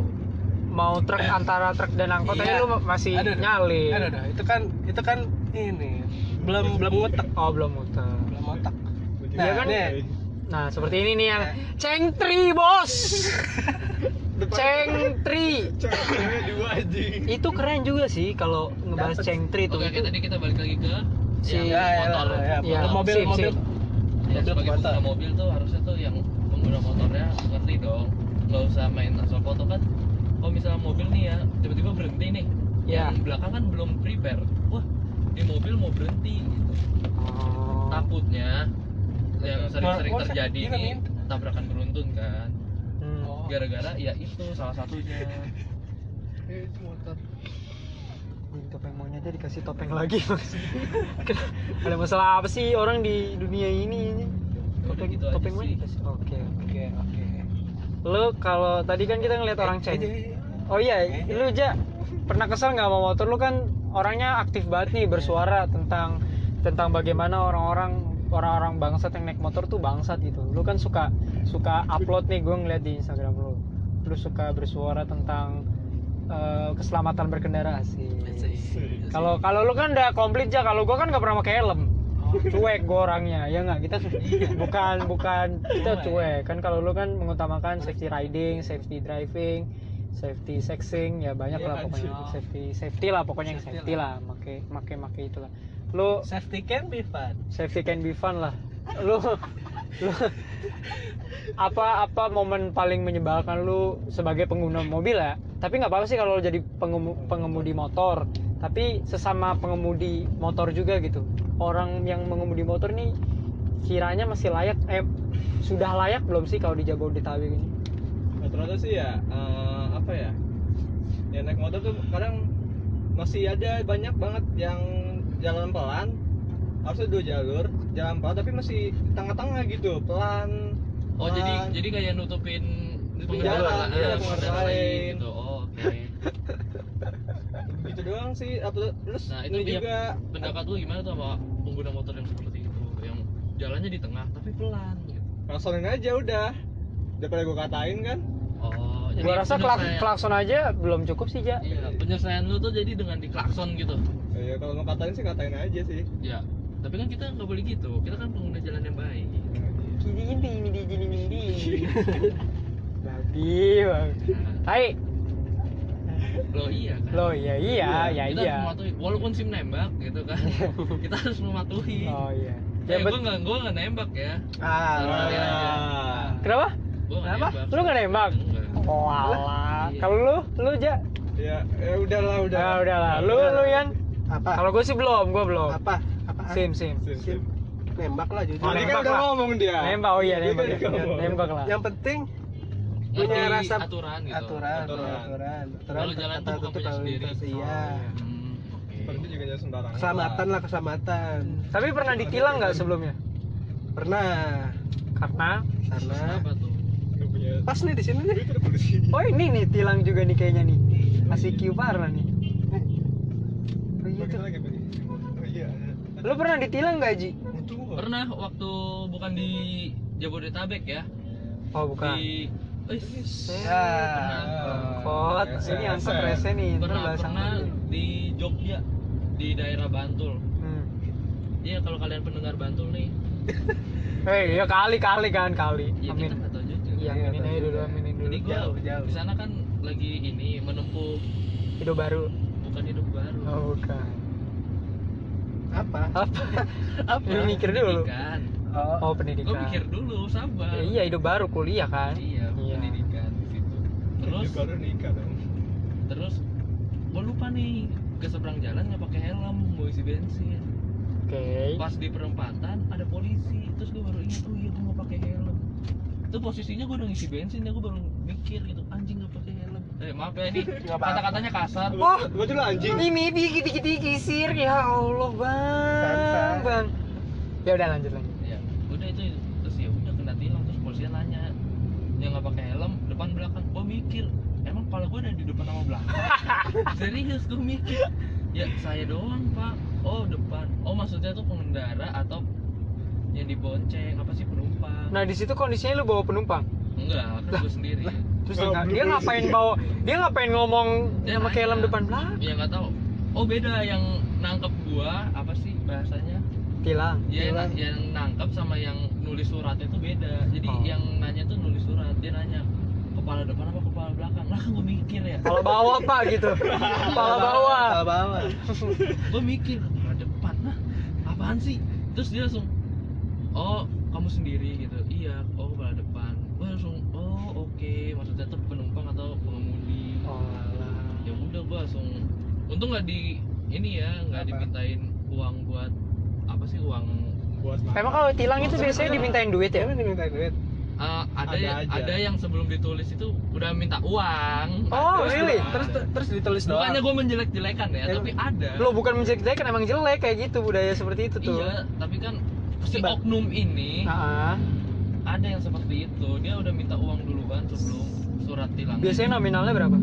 Speaker 1: mau truk antara truk dan angkot aja
Speaker 2: Iya.
Speaker 1: lu masih
Speaker 2: Aduh, aduh.
Speaker 1: nyali
Speaker 2: Aduh, aduh, itu kan itu kan ini belum belum ngotak,
Speaker 1: oh belum muter
Speaker 2: belum otak.
Speaker 4: Ujung-
Speaker 1: Iya kan?
Speaker 4: Ujung-
Speaker 1: nah seperti ini nih
Speaker 2: Eh.
Speaker 1: yang cengtri bos cengtri
Speaker 4: cek cewek dua anjing
Speaker 1: itu keren juga sih kalau ngebahas
Speaker 2: Dapet.
Speaker 1: cengtri tuh
Speaker 3: Oke, oke,
Speaker 1: itu
Speaker 3: tadi kita balik lagi ke
Speaker 1: Si-
Speaker 3: yang
Speaker 2: Ya, ya,
Speaker 3: motor.
Speaker 2: ya, ya,
Speaker 1: Iya,
Speaker 2: mobil
Speaker 1: sip,
Speaker 2: mobil.
Speaker 1: sip.
Speaker 3: Ya,
Speaker 2: mobil
Speaker 3: sebagai
Speaker 2: ke kota.
Speaker 3: pengguna mobil tuh harusnya tuh yang pengguna motornya ngerti dong. Nggak usah main asal foto kan. Kalau misalnya mobil nih ya, tiba-tiba berhenti nih.
Speaker 2: Ya.
Speaker 1: Iya.
Speaker 3: Yang belakang kan belum prepare. Wah, di mobil mau berhenti gitu.
Speaker 1: Oh.
Speaker 3: Takutnya yang sering-sering
Speaker 2: Nah, oh,
Speaker 3: terjadi
Speaker 2: gila,
Speaker 3: nih
Speaker 2: Min.
Speaker 3: tabrakan beruntun kan.
Speaker 1: Hmm.
Speaker 2: Oh.
Speaker 3: Gara-gara ya itu salah satunya.
Speaker 2: Iya
Speaker 4: Eh, itu motor
Speaker 1: Anjing, topeng maunya aja dikasih topeng lagi Mas. Ken- ada masalah apa sih orang di dunia ini ini
Speaker 3: Udah
Speaker 1: topeng
Speaker 3: gitu aja
Speaker 1: topeng maunya
Speaker 3: sih.
Speaker 1: dikasih oke
Speaker 2: Oke, oke.
Speaker 1: lo kalau tadi kan kita ngeliat orang
Speaker 2: Eh,
Speaker 1: ceng
Speaker 2: eh,
Speaker 1: oh iya lu ja pernah kesel nggak sama motor lu kan orangnya aktif banget nih bersuara tentang tentang bagaimana orang-orang orang-orang bangsat yang naik motor tuh bangsat gitu lu kan suka suka upload nih gue ngeliat di instagram lu lu suka bersuara tentang eh, keselamatan berkendara
Speaker 3: Iya
Speaker 1: sih kalau kalau lu kan udah komplit aja, kalau gua kan nggak pernah pakai helm. Cuek gua orangnya, ya nggak kita bukan bukan kita cuek kan kalau lu kan mengutamakan safety riding, safety driving, safety sexing ya banyak
Speaker 4: Iya,
Speaker 1: lah pokoknya
Speaker 2: anjing.
Speaker 1: safety safety lah pokoknya yang
Speaker 2: Safety
Speaker 1: safety lah, make make make itulah. Lu
Speaker 2: Safety can be fun.
Speaker 1: safety can be fun lah. Lu lu apa apa momen paling menyebalkan lu sebagai pengguna mobil ya tapi nggak apa-apa sih kalau lu jadi pengemu- pengemudi motor tapi sesama pengemudi motor juga gitu orang yang mengemudi motor nih kiranya masih layak eh sudah layak belum sih kalau di Jabodetabek ini
Speaker 4: rata-rata sih ya eh, apa ya ya naik motor tuh kadang masih ada banyak banget yang jalan pelan harusnya dua jalur jalan pelan tapi masih di tengah-tengah gitu pelan
Speaker 3: Oh, jadi
Speaker 4: pelan.
Speaker 3: jadi kayak nutupin
Speaker 4: Nutupin
Speaker 3: pengendara
Speaker 4: jalan, iya,
Speaker 3: ah, pengendara
Speaker 4: pengendara
Speaker 3: lain
Speaker 4: lain.
Speaker 3: gitu. Oh, oke.
Speaker 4: gitu doang sih atau terus
Speaker 3: Nah, itu
Speaker 4: ini
Speaker 3: dia
Speaker 4: juga
Speaker 3: pendapat lu gimana tuh sama pengguna motor yang seperti itu yang jalannya di tengah tapi pelan gitu.
Speaker 4: kelaksonin aja udah daripada gue katain kan
Speaker 3: Oh,
Speaker 1: gua rasa klak-
Speaker 3: penyelesaian-
Speaker 1: klakson aja belum cukup sih ja
Speaker 3: Iya, penyelesaian lu tuh jadi dengan diklakson gitu.
Speaker 4: ya kalau mau katain sih katain aja sih
Speaker 3: Ya, tapi kan kita nggak boleh gitu. Kita kan pengguna jalan yang baik.
Speaker 1: Gini, gini, gini, gini, gini, gini. Babi, babi. Hai,
Speaker 3: Lo iya kan.
Speaker 1: lo ya iya, ya
Speaker 3: kita
Speaker 1: iya.
Speaker 3: harus mematuhi walaupun sim nembak gitu kan. kita harus mematuhi.
Speaker 1: Oh iya.
Speaker 3: Ya,
Speaker 1: Ya,
Speaker 3: eh,
Speaker 1: bet-
Speaker 3: gue nggak gue nggak nembak ya.
Speaker 2: Ah,
Speaker 3: Nah,
Speaker 2: iya.
Speaker 4: Ah.
Speaker 1: Kenapa?
Speaker 3: Gue nggak
Speaker 2: Kenapa?
Speaker 3: nembak.
Speaker 1: Lu nggak nembak?
Speaker 3: Enggak.
Speaker 1: Oh alah. Kalau lu, lu ja?
Speaker 4: ya ya udahlah udah
Speaker 1: Ah, udahlah. Lu, lu Yan?
Speaker 2: apa?
Speaker 1: Kalau gue sih belum, gue belum.
Speaker 2: Ah. apa? Apa?
Speaker 1: Sim, sim.
Speaker 4: Sim, sim.
Speaker 2: Nembak lah jujur.
Speaker 1: Oh,
Speaker 4: Tadi
Speaker 1: nembak
Speaker 4: kan udah
Speaker 1: lah.
Speaker 4: ngomong dia
Speaker 1: Nembak, oh iya
Speaker 4: Dia
Speaker 1: nembak.
Speaker 4: tadi kan ngomong.
Speaker 1: Nembak lah.
Speaker 2: Yang penting
Speaker 3: Ngerti
Speaker 2: punya rasa
Speaker 3: aturan gitu.
Speaker 2: Aturan,
Speaker 4: Aturan.
Speaker 2: aturan.
Speaker 3: Kalau jalan tuh bukan
Speaker 2: tertutup
Speaker 3: punya
Speaker 2: lalu
Speaker 3: sendiri.
Speaker 2: lintas, Iya.
Speaker 3: Hmm, oke.
Speaker 4: Berhenti juga jangan sembarangan
Speaker 2: Keselamatan lah keselamatan.
Speaker 1: Tapi pernah ditilang nggak sebelumnya?
Speaker 2: Hmm. Pernah
Speaker 1: Karena
Speaker 2: karena
Speaker 3: Apa tuh?
Speaker 4: Lu punya
Speaker 2: pas nih di sini nih.
Speaker 4: Itu udah polisi
Speaker 1: Oh ini nih tilang juga nih kayaknya nih Kasih Q parah nih
Speaker 4: Oh iya lagi Pak. Oh iya
Speaker 1: Lu pernah ditilang nggak Ji?
Speaker 4: Itu
Speaker 3: Pernah waktu bukan di Jabodetabek ya?
Speaker 1: Oh bukan
Speaker 3: Di eh,
Speaker 2: Ya.
Speaker 1: Angkot, ini angkot rese nih Ntar
Speaker 3: pernah
Speaker 1: bahas
Speaker 3: pernah
Speaker 1: angkot dulu.
Speaker 3: di Jogja di daerah Bantul.
Speaker 1: Hmm.
Speaker 3: Iya kalau kalian pendengar Bantul nih,
Speaker 1: Hei, ya kali-kali kan, kali
Speaker 3: ya kita
Speaker 1: Amin
Speaker 3: nggak tahu Jogja.
Speaker 1: Iya,
Speaker 2: Iya,
Speaker 1: aminin aja dulu, aminin dulu
Speaker 3: Jadi gua
Speaker 2: Jauh, jauh.
Speaker 3: di sana kan lagi ini menempuh
Speaker 1: Hidup baru
Speaker 3: bukan hidup baru.
Speaker 1: Oh bukan
Speaker 2: Apa?
Speaker 1: Apa?
Speaker 3: Apa?
Speaker 1: Lu mikir dulu.
Speaker 3: Pendidikan.
Speaker 2: Oh,
Speaker 1: Oh
Speaker 3: Gua
Speaker 1: pendidikan
Speaker 3: mikir dulu, sabar.
Speaker 1: Ya, Iya hidup baru kuliah kan
Speaker 3: eh, Iya,
Speaker 1: Iya.
Speaker 3: pendidikan di situ. Terus?
Speaker 4: baru nikah dong.
Speaker 3: terus gue lupa nih ke seberang jalan nggak pakai helm mau isi bensin
Speaker 1: Oke.
Speaker 3: pas di perempatan ada polisi terus gue baru ingat oh iya gue nggak pakai helm itu posisinya gue udah ngisi bensin ya gue baru mikir gitu anjing nggak pakai helm eh maaf ya ini kata-katanya kasar
Speaker 1: Oh.
Speaker 4: Gua dulu anjing.
Speaker 1: Ini mimpi dikit-dikit dikisir ya Allah bang,
Speaker 2: Santai.
Speaker 1: bang. Ya udah lanjut lanjut.
Speaker 3: ya udah itu terus ya udah kena tilang terus polisi nanya yang nggak pakai helm depan belakang gue mikir emang kepala gue ada di depan sama belakang serius gue mikir ya saya doang pak oh depan oh maksudnya tuh pengendara atau yang dibonceng apa sih penumpang
Speaker 1: Nah di situ kondisinya lu bawa penumpang.
Speaker 3: enggak kan gue sendiri
Speaker 1: Terus dia-
Speaker 4: Oh, belum
Speaker 1: dia
Speaker 4: polisi.
Speaker 1: ngapain bawa? Dia ngapain ngomong
Speaker 3: Dia
Speaker 1: sama
Speaker 3: nanya.
Speaker 1: helm depan belakang?
Speaker 3: ya nggak tahu oh beda yang nangkep gua apa sih bahasanya
Speaker 1: Tilang.
Speaker 3: ya
Speaker 4: Tilang.
Speaker 3: yang, yang nangkep sama yang nulis surat itu beda jadi
Speaker 1: Oh.
Speaker 3: yang nanya tuh nulis surat dia nanya kepala depan apa kepala belakang lah kan gue mikir ya
Speaker 1: Kepala bawah pak gitu. Kepala bawah.
Speaker 2: Kepala bawah.
Speaker 3: gue mikir kepala depan lah apaan sih terus dia langsung oh kamu sendiri gitu iya oh kepala depan gue langsung oh oke maksudnya tuh penumpang atau pengemudi
Speaker 1: Oh alah.
Speaker 3: ya udah gue langsung untung nggak di ini ya nggak
Speaker 2: Apa?
Speaker 3: dimintain uang buat apa sih uang
Speaker 4: Buat
Speaker 1: Emang kalau tilang itu biasanya dimintain duit ya?
Speaker 2: Jangan diminta duit.
Speaker 3: eh, ada
Speaker 4: Ada
Speaker 3: yang
Speaker 4: aja.
Speaker 3: ada yang sebelum ditulis itu udah minta uang
Speaker 1: Oh really?
Speaker 2: Terus terus ditulis doang.
Speaker 3: bukannya gue menjelek-jelekan ya
Speaker 2: Ya,
Speaker 3: tapi ada
Speaker 1: Lo bukan menjelek kan emang jelek kayak gitu budaya seperti itu tuh.
Speaker 3: iya tapi kan si
Speaker 2: Sebab-
Speaker 3: oknum ini
Speaker 1: Ah, ah.
Speaker 3: ada yang seperti itu dia udah minta uang duluan sebelum surat tilang
Speaker 1: biasanya nominalnya berapa?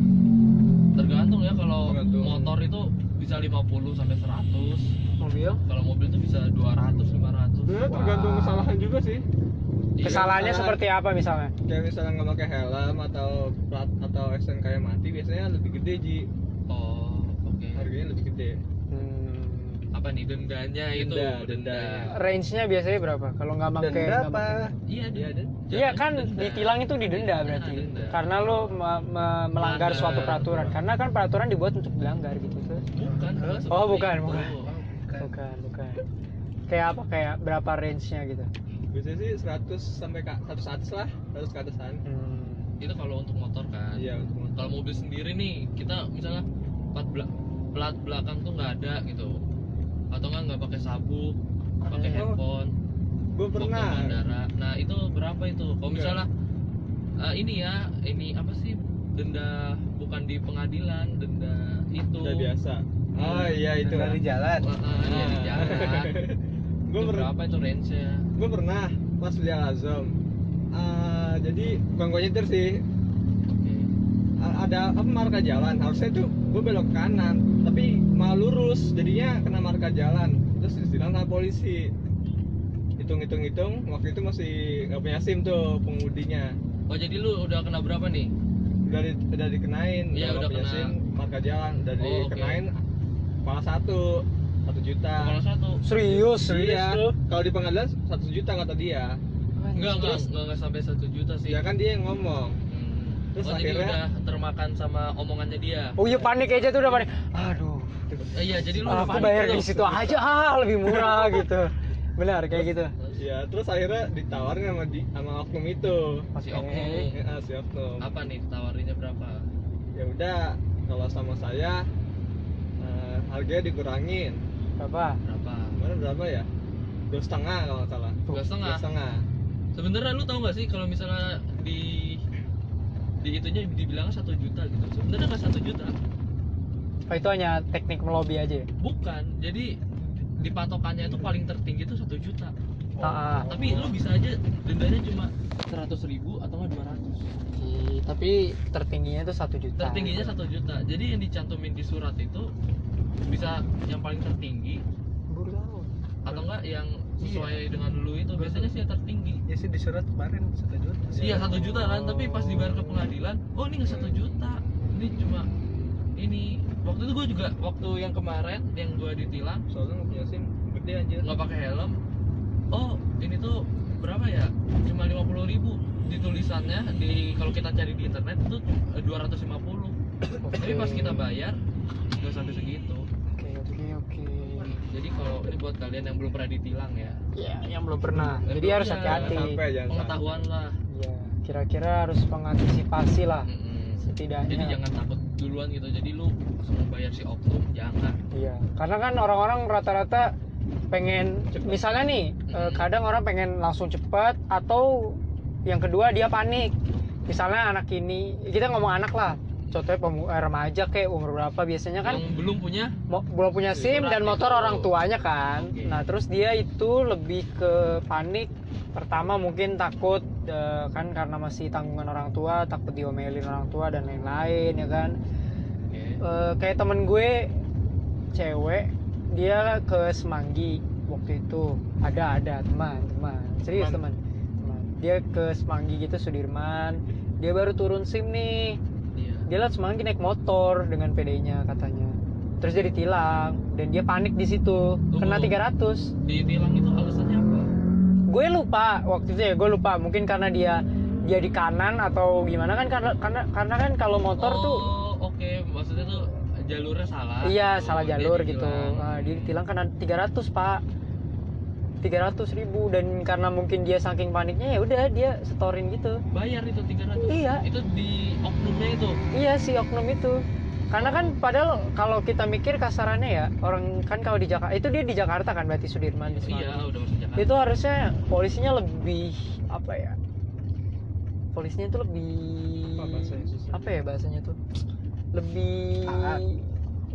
Speaker 3: tergantung ya kalau
Speaker 4: Tergantung.
Speaker 3: motor itu bisa 50 sampai 100
Speaker 1: Mobil?
Speaker 3: kalau mobil itu bisa 200 500
Speaker 4: Sebenarnya Nah, tergantung
Speaker 1: Wah.
Speaker 4: kesalahan juga sih.
Speaker 3: Iya.
Speaker 1: Kesalahannya
Speaker 4: Hmm? kesalahan.
Speaker 1: seperti apa misalnya?
Speaker 4: Kayak misalnya nggak pakai helm atau plat atau SNK yang mati biasanya lebih gede ji
Speaker 3: Oh, oke.
Speaker 4: harganya lebih gede.
Speaker 1: Hmm.
Speaker 3: Apa nih dendanya itu?
Speaker 4: Denda, denda.
Speaker 1: Range-nya biasanya berapa? Kalau nggak
Speaker 2: Dan
Speaker 1: pakai nggak
Speaker 2: berapa?
Speaker 1: pakai-
Speaker 3: Iya,
Speaker 4: Iya,
Speaker 3: denda.
Speaker 4: dan
Speaker 1: Iya kan
Speaker 3: Denda.
Speaker 1: ditilang itu didenda
Speaker 3: Iya,
Speaker 1: berarti.
Speaker 3: denda.
Speaker 1: Karena lo me- me- melanggar
Speaker 3: Melanggar.
Speaker 1: suatu peraturan. Karena kan peraturan dibuat untuk dilanggar gitu tuh.
Speaker 3: Bukan, bukan seperti
Speaker 1: Oh, bukan,
Speaker 3: itu.
Speaker 1: bukan. Bukan, bukan. Kayak apa? Kayak berapa range-nya gitu.
Speaker 4: biasanya sih 100 sampai ke 100 atas lah, 100 ke atasan.
Speaker 1: Hmm.
Speaker 3: Itu kalau untuk motor kan.
Speaker 4: Iya, untuk motor.
Speaker 3: Kalau mobil sendiri nih, kita misalnya plat bela- plat belakang tuh nggak ada gitu. Atau nggak nggak pakai sabuk, pakai
Speaker 1: Oh.
Speaker 3: handphone,
Speaker 4: Gue pernah.
Speaker 3: bokeh bandara. Nah, itu berapa itu?
Speaker 4: Iya.
Speaker 3: Kalau misalnya eh, ini ya, ini apa sih? Denda bukan di pengadilan, denda itu.
Speaker 4: Udah biasa. Oh iya itu. Ah.
Speaker 2: Dari jalan.
Speaker 3: Eh, eh, iya, di jalan.
Speaker 4: Gue
Speaker 3: Itu
Speaker 4: pernah
Speaker 3: berapa itu range-nya?
Speaker 4: gue pernah pas beli Alazom eh jadi bukan gue nyetir sih
Speaker 3: Oke.
Speaker 4: a- ada apa marka jalan harusnya tuh gue belok kanan tapi malah lurus jadinya kena marka jalan terus disilang sama polisi hitung hitung hitung waktu itu masih nggak punya sim tuh pengemudinya
Speaker 3: Oh jadi lu udah kena berapa nih?
Speaker 4: udah di, udah dikenain
Speaker 3: Iya,
Speaker 4: nggak
Speaker 3: udah
Speaker 4: punya
Speaker 3: kena.
Speaker 4: sim marka jalan udah
Speaker 3: Oh, oke.
Speaker 4: dikenain kepala satu satu juta
Speaker 3: Kalau satu.
Speaker 1: Serius?
Speaker 4: Iya,
Speaker 1: lu?
Speaker 4: kalau di pengadilan satu juta kata dia
Speaker 3: Enggak enggak enggak, enggak sampai satu juta sih.
Speaker 4: ya kan dia yang ngomong
Speaker 3: Hmm.
Speaker 4: Terus
Speaker 3: oh, jadi
Speaker 4: akhirnya-
Speaker 3: udah termakan sama omongannya dia.
Speaker 1: Oh iya panik aja tuh udah panik. Aduh.
Speaker 3: Eh, iya, jadi lu udah
Speaker 1: Aku
Speaker 3: panik
Speaker 1: bayar
Speaker 3: tuh.
Speaker 1: di situ aja ah, lebih murah gitu. Benar kayak gitu.
Speaker 4: Ya, terus akhirnya ditawarin sama di sama oknum itu.
Speaker 3: Si oknum.
Speaker 4: Eh, ah, si oknum.
Speaker 3: Apa nih tawarinnya berapa?
Speaker 4: Ya udah, kalau sama saya eh, harganya dikurangin.
Speaker 1: Berapa?
Speaker 3: Berapa?
Speaker 4: Kemarin berapa ya? Dua setengah kalau nggak salah.
Speaker 3: Dua
Speaker 4: Dua
Speaker 3: setengah.
Speaker 4: setengah.
Speaker 3: Sebenarnya lu tau gak sih kalau misalnya di di itunya dibilang satu juta gitu. Sebenarnya nggak satu juta.
Speaker 1: Oh, itu hanya teknik melobi aja. ya?
Speaker 3: Bukan. Jadi di patokannya itu paling tertinggi itu satu juta. Oh.
Speaker 1: Ah, ah.
Speaker 3: Tapi lu bisa aja dendanya cuma seratus ribu atau nggak dua ratus.
Speaker 1: Ih, Iya, tapi tertingginya itu satu juta.
Speaker 3: tertingginya satu juta jadi yang dicantumin di surat itu bisa yang paling tertinggi
Speaker 1: Baru tahu.
Speaker 3: atau enggak yang sesuai dengan lu itu biasanya sih yang tertinggi
Speaker 2: Ya sih di surat kemarin satu juta.
Speaker 3: iya satu juta kan tapi pas dibayar ke pengadilan oh ini nggak satu juta ini cuma ini waktu itu gue juga waktu yang kemarin yang gue ditilang
Speaker 4: Soalnya nggak punya SIM, gede aja.
Speaker 3: nggak pakai helm oh ini tuh berapa ya cuma 50.000 ribu di tulisannya di kalau kita cari di internet itu eh, 250 tapi pas kita bayar nggak sampai segitu
Speaker 1: Oke, oke, oke.
Speaker 3: Jadi kalau ini buat kalian yang belum pernah ditilang ya, Iya,
Speaker 1: Ya, yang belum pernah.
Speaker 3: Yang
Speaker 1: Jadi
Speaker 3: belum
Speaker 1: harus
Speaker 3: pernah.
Speaker 1: hati-hati.
Speaker 4: Jangan sampai, jangan sampai.
Speaker 3: pengetahuan lah.
Speaker 1: Ya, kira-kira harus mengantisipasi lah.
Speaker 3: Mm-mm.
Speaker 1: setidaknya
Speaker 3: Hmm. jadi jangan takut duluan gitu jadi lu langsung bayar si oknum jangan
Speaker 1: Iya, karena kan orang-orang rata-rata pengen,
Speaker 3: Cepet.
Speaker 1: misalnya nih, eh,
Speaker 3: Mm.
Speaker 1: kadang orang pengen langsung cepat atau yang kedua dia panik. Misalnya anak ini, kita ngomong anak lah, contohnya pemu- eh, remaja kayak umur berapa biasanya kan
Speaker 3: yang belum punya
Speaker 1: mo- belum punya
Speaker 3: Itu
Speaker 1: SIM dan
Speaker 3: berarti
Speaker 1: motor
Speaker 3: itu.
Speaker 1: orang tuanya kan.
Speaker 3: Oke.
Speaker 1: Nah terus dia itu lebih ke panik. Pertama mungkin takut eh, kan karena masih tanggungan orang tua, takut diomelin orang tua dan lain-lain ya kan.
Speaker 3: Oke.
Speaker 1: Eh, kayak temen gue cewek dia ke Semanggi waktu itu ada ada teman teman serius teman
Speaker 3: Teman.
Speaker 1: teman dia ke Semanggi gitu Sudirman dia baru turun sim nih
Speaker 3: Iya.
Speaker 1: dia liat Semanggi naik motor dengan PD-nya katanya terus dia ditilang dan dia panik di situ kena
Speaker 3: Tunggu.
Speaker 1: 300
Speaker 3: ditilang itu alasannya apa
Speaker 1: gue lupa waktu itu ya gue lupa mungkin karena dia dia di kanan atau gimana kan karena karena karena kan kalau motor
Speaker 3: oh,
Speaker 1: tuh
Speaker 3: oke maksudnya tuh jalurnya
Speaker 1: Iya,
Speaker 3: salah gitu.
Speaker 1: salah
Speaker 3: Dia
Speaker 1: jalur gitu.
Speaker 3: ditilang.
Speaker 1: Nah, dia ditilang kan ada 300, Pak. 300 ribu dan karena mungkin dia saking paniknya ya udah dia setorin gitu.
Speaker 3: bayar itu 300
Speaker 1: Iya.
Speaker 3: itu di oknumnya itu
Speaker 1: Iya si oknum itu. Karena kan padahal kalau kita mikir kasarannya ya, orang kan kalau di Jakarta itu dia di Jakarta kan berarti Sudirman di
Speaker 3: iya
Speaker 1: Semarang.
Speaker 3: udah masuk Jakarta
Speaker 1: Itu harusnya polisinya lebih apa ya? Polisinya itu lebih
Speaker 4: Apa bahasanya susah?
Speaker 1: apa ya bahasanya tuh lebih
Speaker 2: Taat.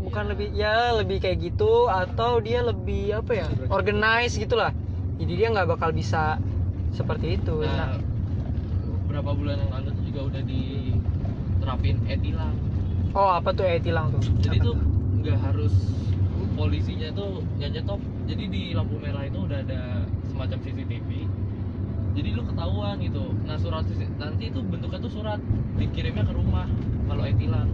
Speaker 1: bukan
Speaker 3: Ya.
Speaker 1: lebih ya lebih kayak gitu atau dia lebih apa ya
Speaker 4: Berarti.
Speaker 1: organize gitulah jadi dia nggak bakal bisa seperti itu nah,
Speaker 3: nah, berapa bulan yang lalu tuh juga udah eh, diterapin e-tilang
Speaker 1: oh apa tuh eh tilang tuh
Speaker 3: jadi tuh nggak harus polisinya tuh yang nyetop jadi di lampu merah itu udah ada semacam CCTV jadi lu ketahuan gitu nah surat CC nanti itu bentuknya tuh surat dikirimnya ke rumah kalau etilang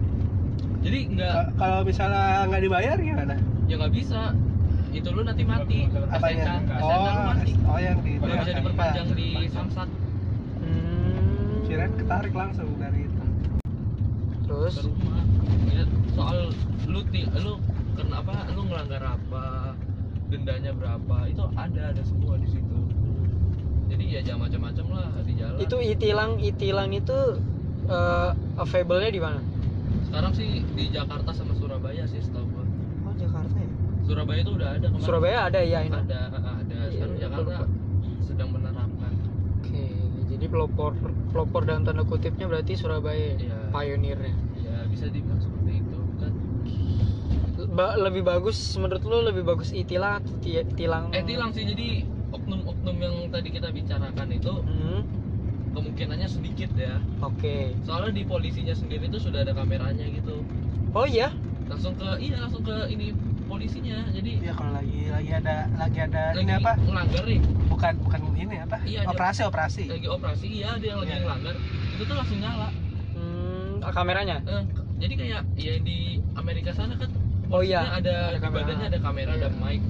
Speaker 3: jadi nggak
Speaker 2: Ka- kalau misalnya nggak dibayar gimana
Speaker 3: ya nggak bisa itu lu nanti mati SNK
Speaker 2: apanya
Speaker 3: SNK lu
Speaker 2: oh
Speaker 3: mati
Speaker 2: oh yang di Iya.
Speaker 3: nggak bisa diperpanjang di samsat
Speaker 1: Hmm.
Speaker 2: kirain ketarik langsung dari itu
Speaker 1: terus
Speaker 3: ke rumah Ya, soal lu ti lu kena apa lu ngelanggar apa dendanya berapa itu ada ada semua di situ jadi ya jangan macam-macam lah di jalan
Speaker 1: itu itilang itilang itu eh available-nya di mana
Speaker 3: sekarang sih di Jakarta sama Surabaya sih setahu gua
Speaker 1: oh Jakarta ya
Speaker 3: Surabaya itu udah ada kemarin
Speaker 1: Surabaya ada ya ini
Speaker 3: ada ada sekarang
Speaker 1: Iya,
Speaker 3: Jakarta
Speaker 1: lupa.
Speaker 3: sedang menerapkan
Speaker 1: oke jadi pelopor pelopor dalam tanda kutipnya berarti Surabaya ya?
Speaker 3: Iya.
Speaker 1: pionirnya
Speaker 3: ya bisa dibilang seperti itu kan
Speaker 1: Ba- lebih bagus menurut lu lebih bagus itilang atau ti- tilang
Speaker 3: eh tilang sih jadi oknum-oknum yang tadi kita bicarakan itu
Speaker 1: Hmm,
Speaker 3: kemungkinannya sedikit ya
Speaker 1: oke
Speaker 3: soalnya di polisinya sendiri itu sudah ada kameranya gitu
Speaker 1: oh iya
Speaker 3: langsung ke iya langsung ke ini polisinya jadi
Speaker 2: ya kalau lagi lagi ada lagi
Speaker 1: Iya,
Speaker 2: ada
Speaker 3: lagi
Speaker 2: ini apa
Speaker 3: ngelanggar nih
Speaker 2: bukan bukan ini apa
Speaker 3: Iya, ada-
Speaker 2: operasi operasi
Speaker 3: lagi operasi iya dia lagi
Speaker 2: Iya.
Speaker 3: ngelanggar itu tuh langsung nyala
Speaker 1: Hmm, kameranya
Speaker 3: Eh, k- jadi kayak ya di Amerika sana kan
Speaker 1: Oh, iya.
Speaker 3: polisinya ada,
Speaker 1: Ada
Speaker 3: di
Speaker 1: kamera. Iya.
Speaker 3: badannya ada kamera ada mic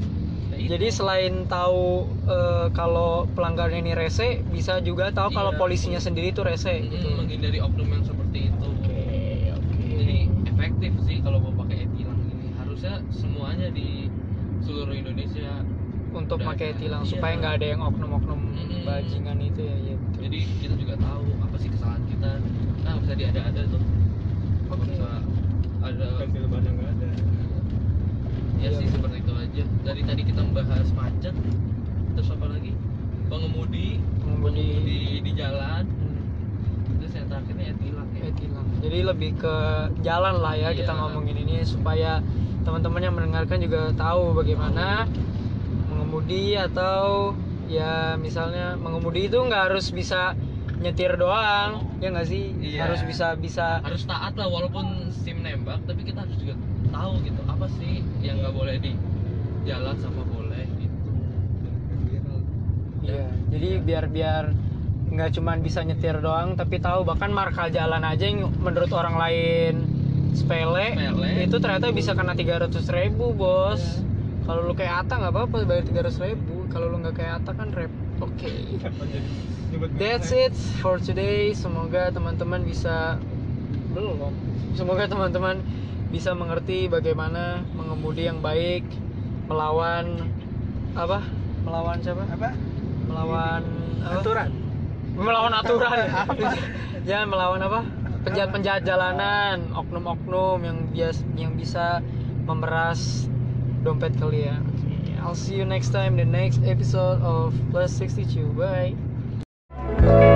Speaker 3: Nah, itu.
Speaker 1: jadi selain tahu eh, kalau pelanggarnya ini rese bisa juga tahu kalau
Speaker 3: Iya.
Speaker 1: polisinya sendiri itu rese
Speaker 3: Mm,
Speaker 1: gitu
Speaker 3: menghindari oknum yang seperti itu jadi efektif sih kalau mau pakai e-tilang ini harusnya semuanya di seluruh Indonesia
Speaker 1: untuk
Speaker 3: Udah,
Speaker 1: pakai
Speaker 3: iya.
Speaker 1: tilang
Speaker 3: Iya.
Speaker 1: supaya nggak ada yang oknum-oknum
Speaker 3: Mm-mm.
Speaker 1: bajingan itu ya iya betul.
Speaker 3: jadi kita juga tahu apa sih kesalahan kita nah nggak bisa diada-ada tuh Nggak
Speaker 1: Oke.
Speaker 3: bisa ada
Speaker 4: Pensil lebaran Kan nggak ada.
Speaker 3: ya
Speaker 1: Iya,
Speaker 3: sih
Speaker 1: bener.
Speaker 3: seperti itu aja dari tadi kita membahas macet terus apa lagi pengemudi
Speaker 1: Pengemudi.
Speaker 3: di di jalan
Speaker 1: Hmm,
Speaker 3: terus yang terakhirnya etilang ya
Speaker 1: eh, tilang. jadi lebih ke jalan lah ya kita
Speaker 3: Iya.
Speaker 1: ngomongin ini supaya teman-teman yang mendengarkan juga tahu bagaimana mengemudi atau ya misalnya mengemudi itu nggak harus bisa nyetir doang ya nggak sih
Speaker 2: Iya.
Speaker 1: harus bisa bisa
Speaker 3: harus taat lah walaupun sim nembak tapi kita harus juga tahu gitu apa sih yang nggak boleh di jalan sama boleh gitu
Speaker 1: Iya, jadi biar biar nggak cuman bisa nyetir doang tapi tahu bahkan marka jalan aja yang menurut orang lain sepele,
Speaker 3: Sepele.
Speaker 1: itu ternyata bisa kena 300.000 ribu bos
Speaker 3: Iya.
Speaker 1: kalau lu kayak Ata nggak apa-apa bayar 300.000 ribu kalau lu nggak kayak Ata kan rep oke That's it for today. Semoga teman-teman bisa belum. Semoga teman-teman bisa mengerti bagaimana mengemudi yang baik, melawan apa? Melawan siapa?
Speaker 2: apa
Speaker 1: Melawan apa?
Speaker 2: aturan
Speaker 1: Ya, Melawan aturan. Jangan melawan apa? penjahat-penjahat jalanan, oknum-oknum yang bias yang bisa memeras dompet kalian. Oke, I'll see you next time the next episode of Plus 62. Bye.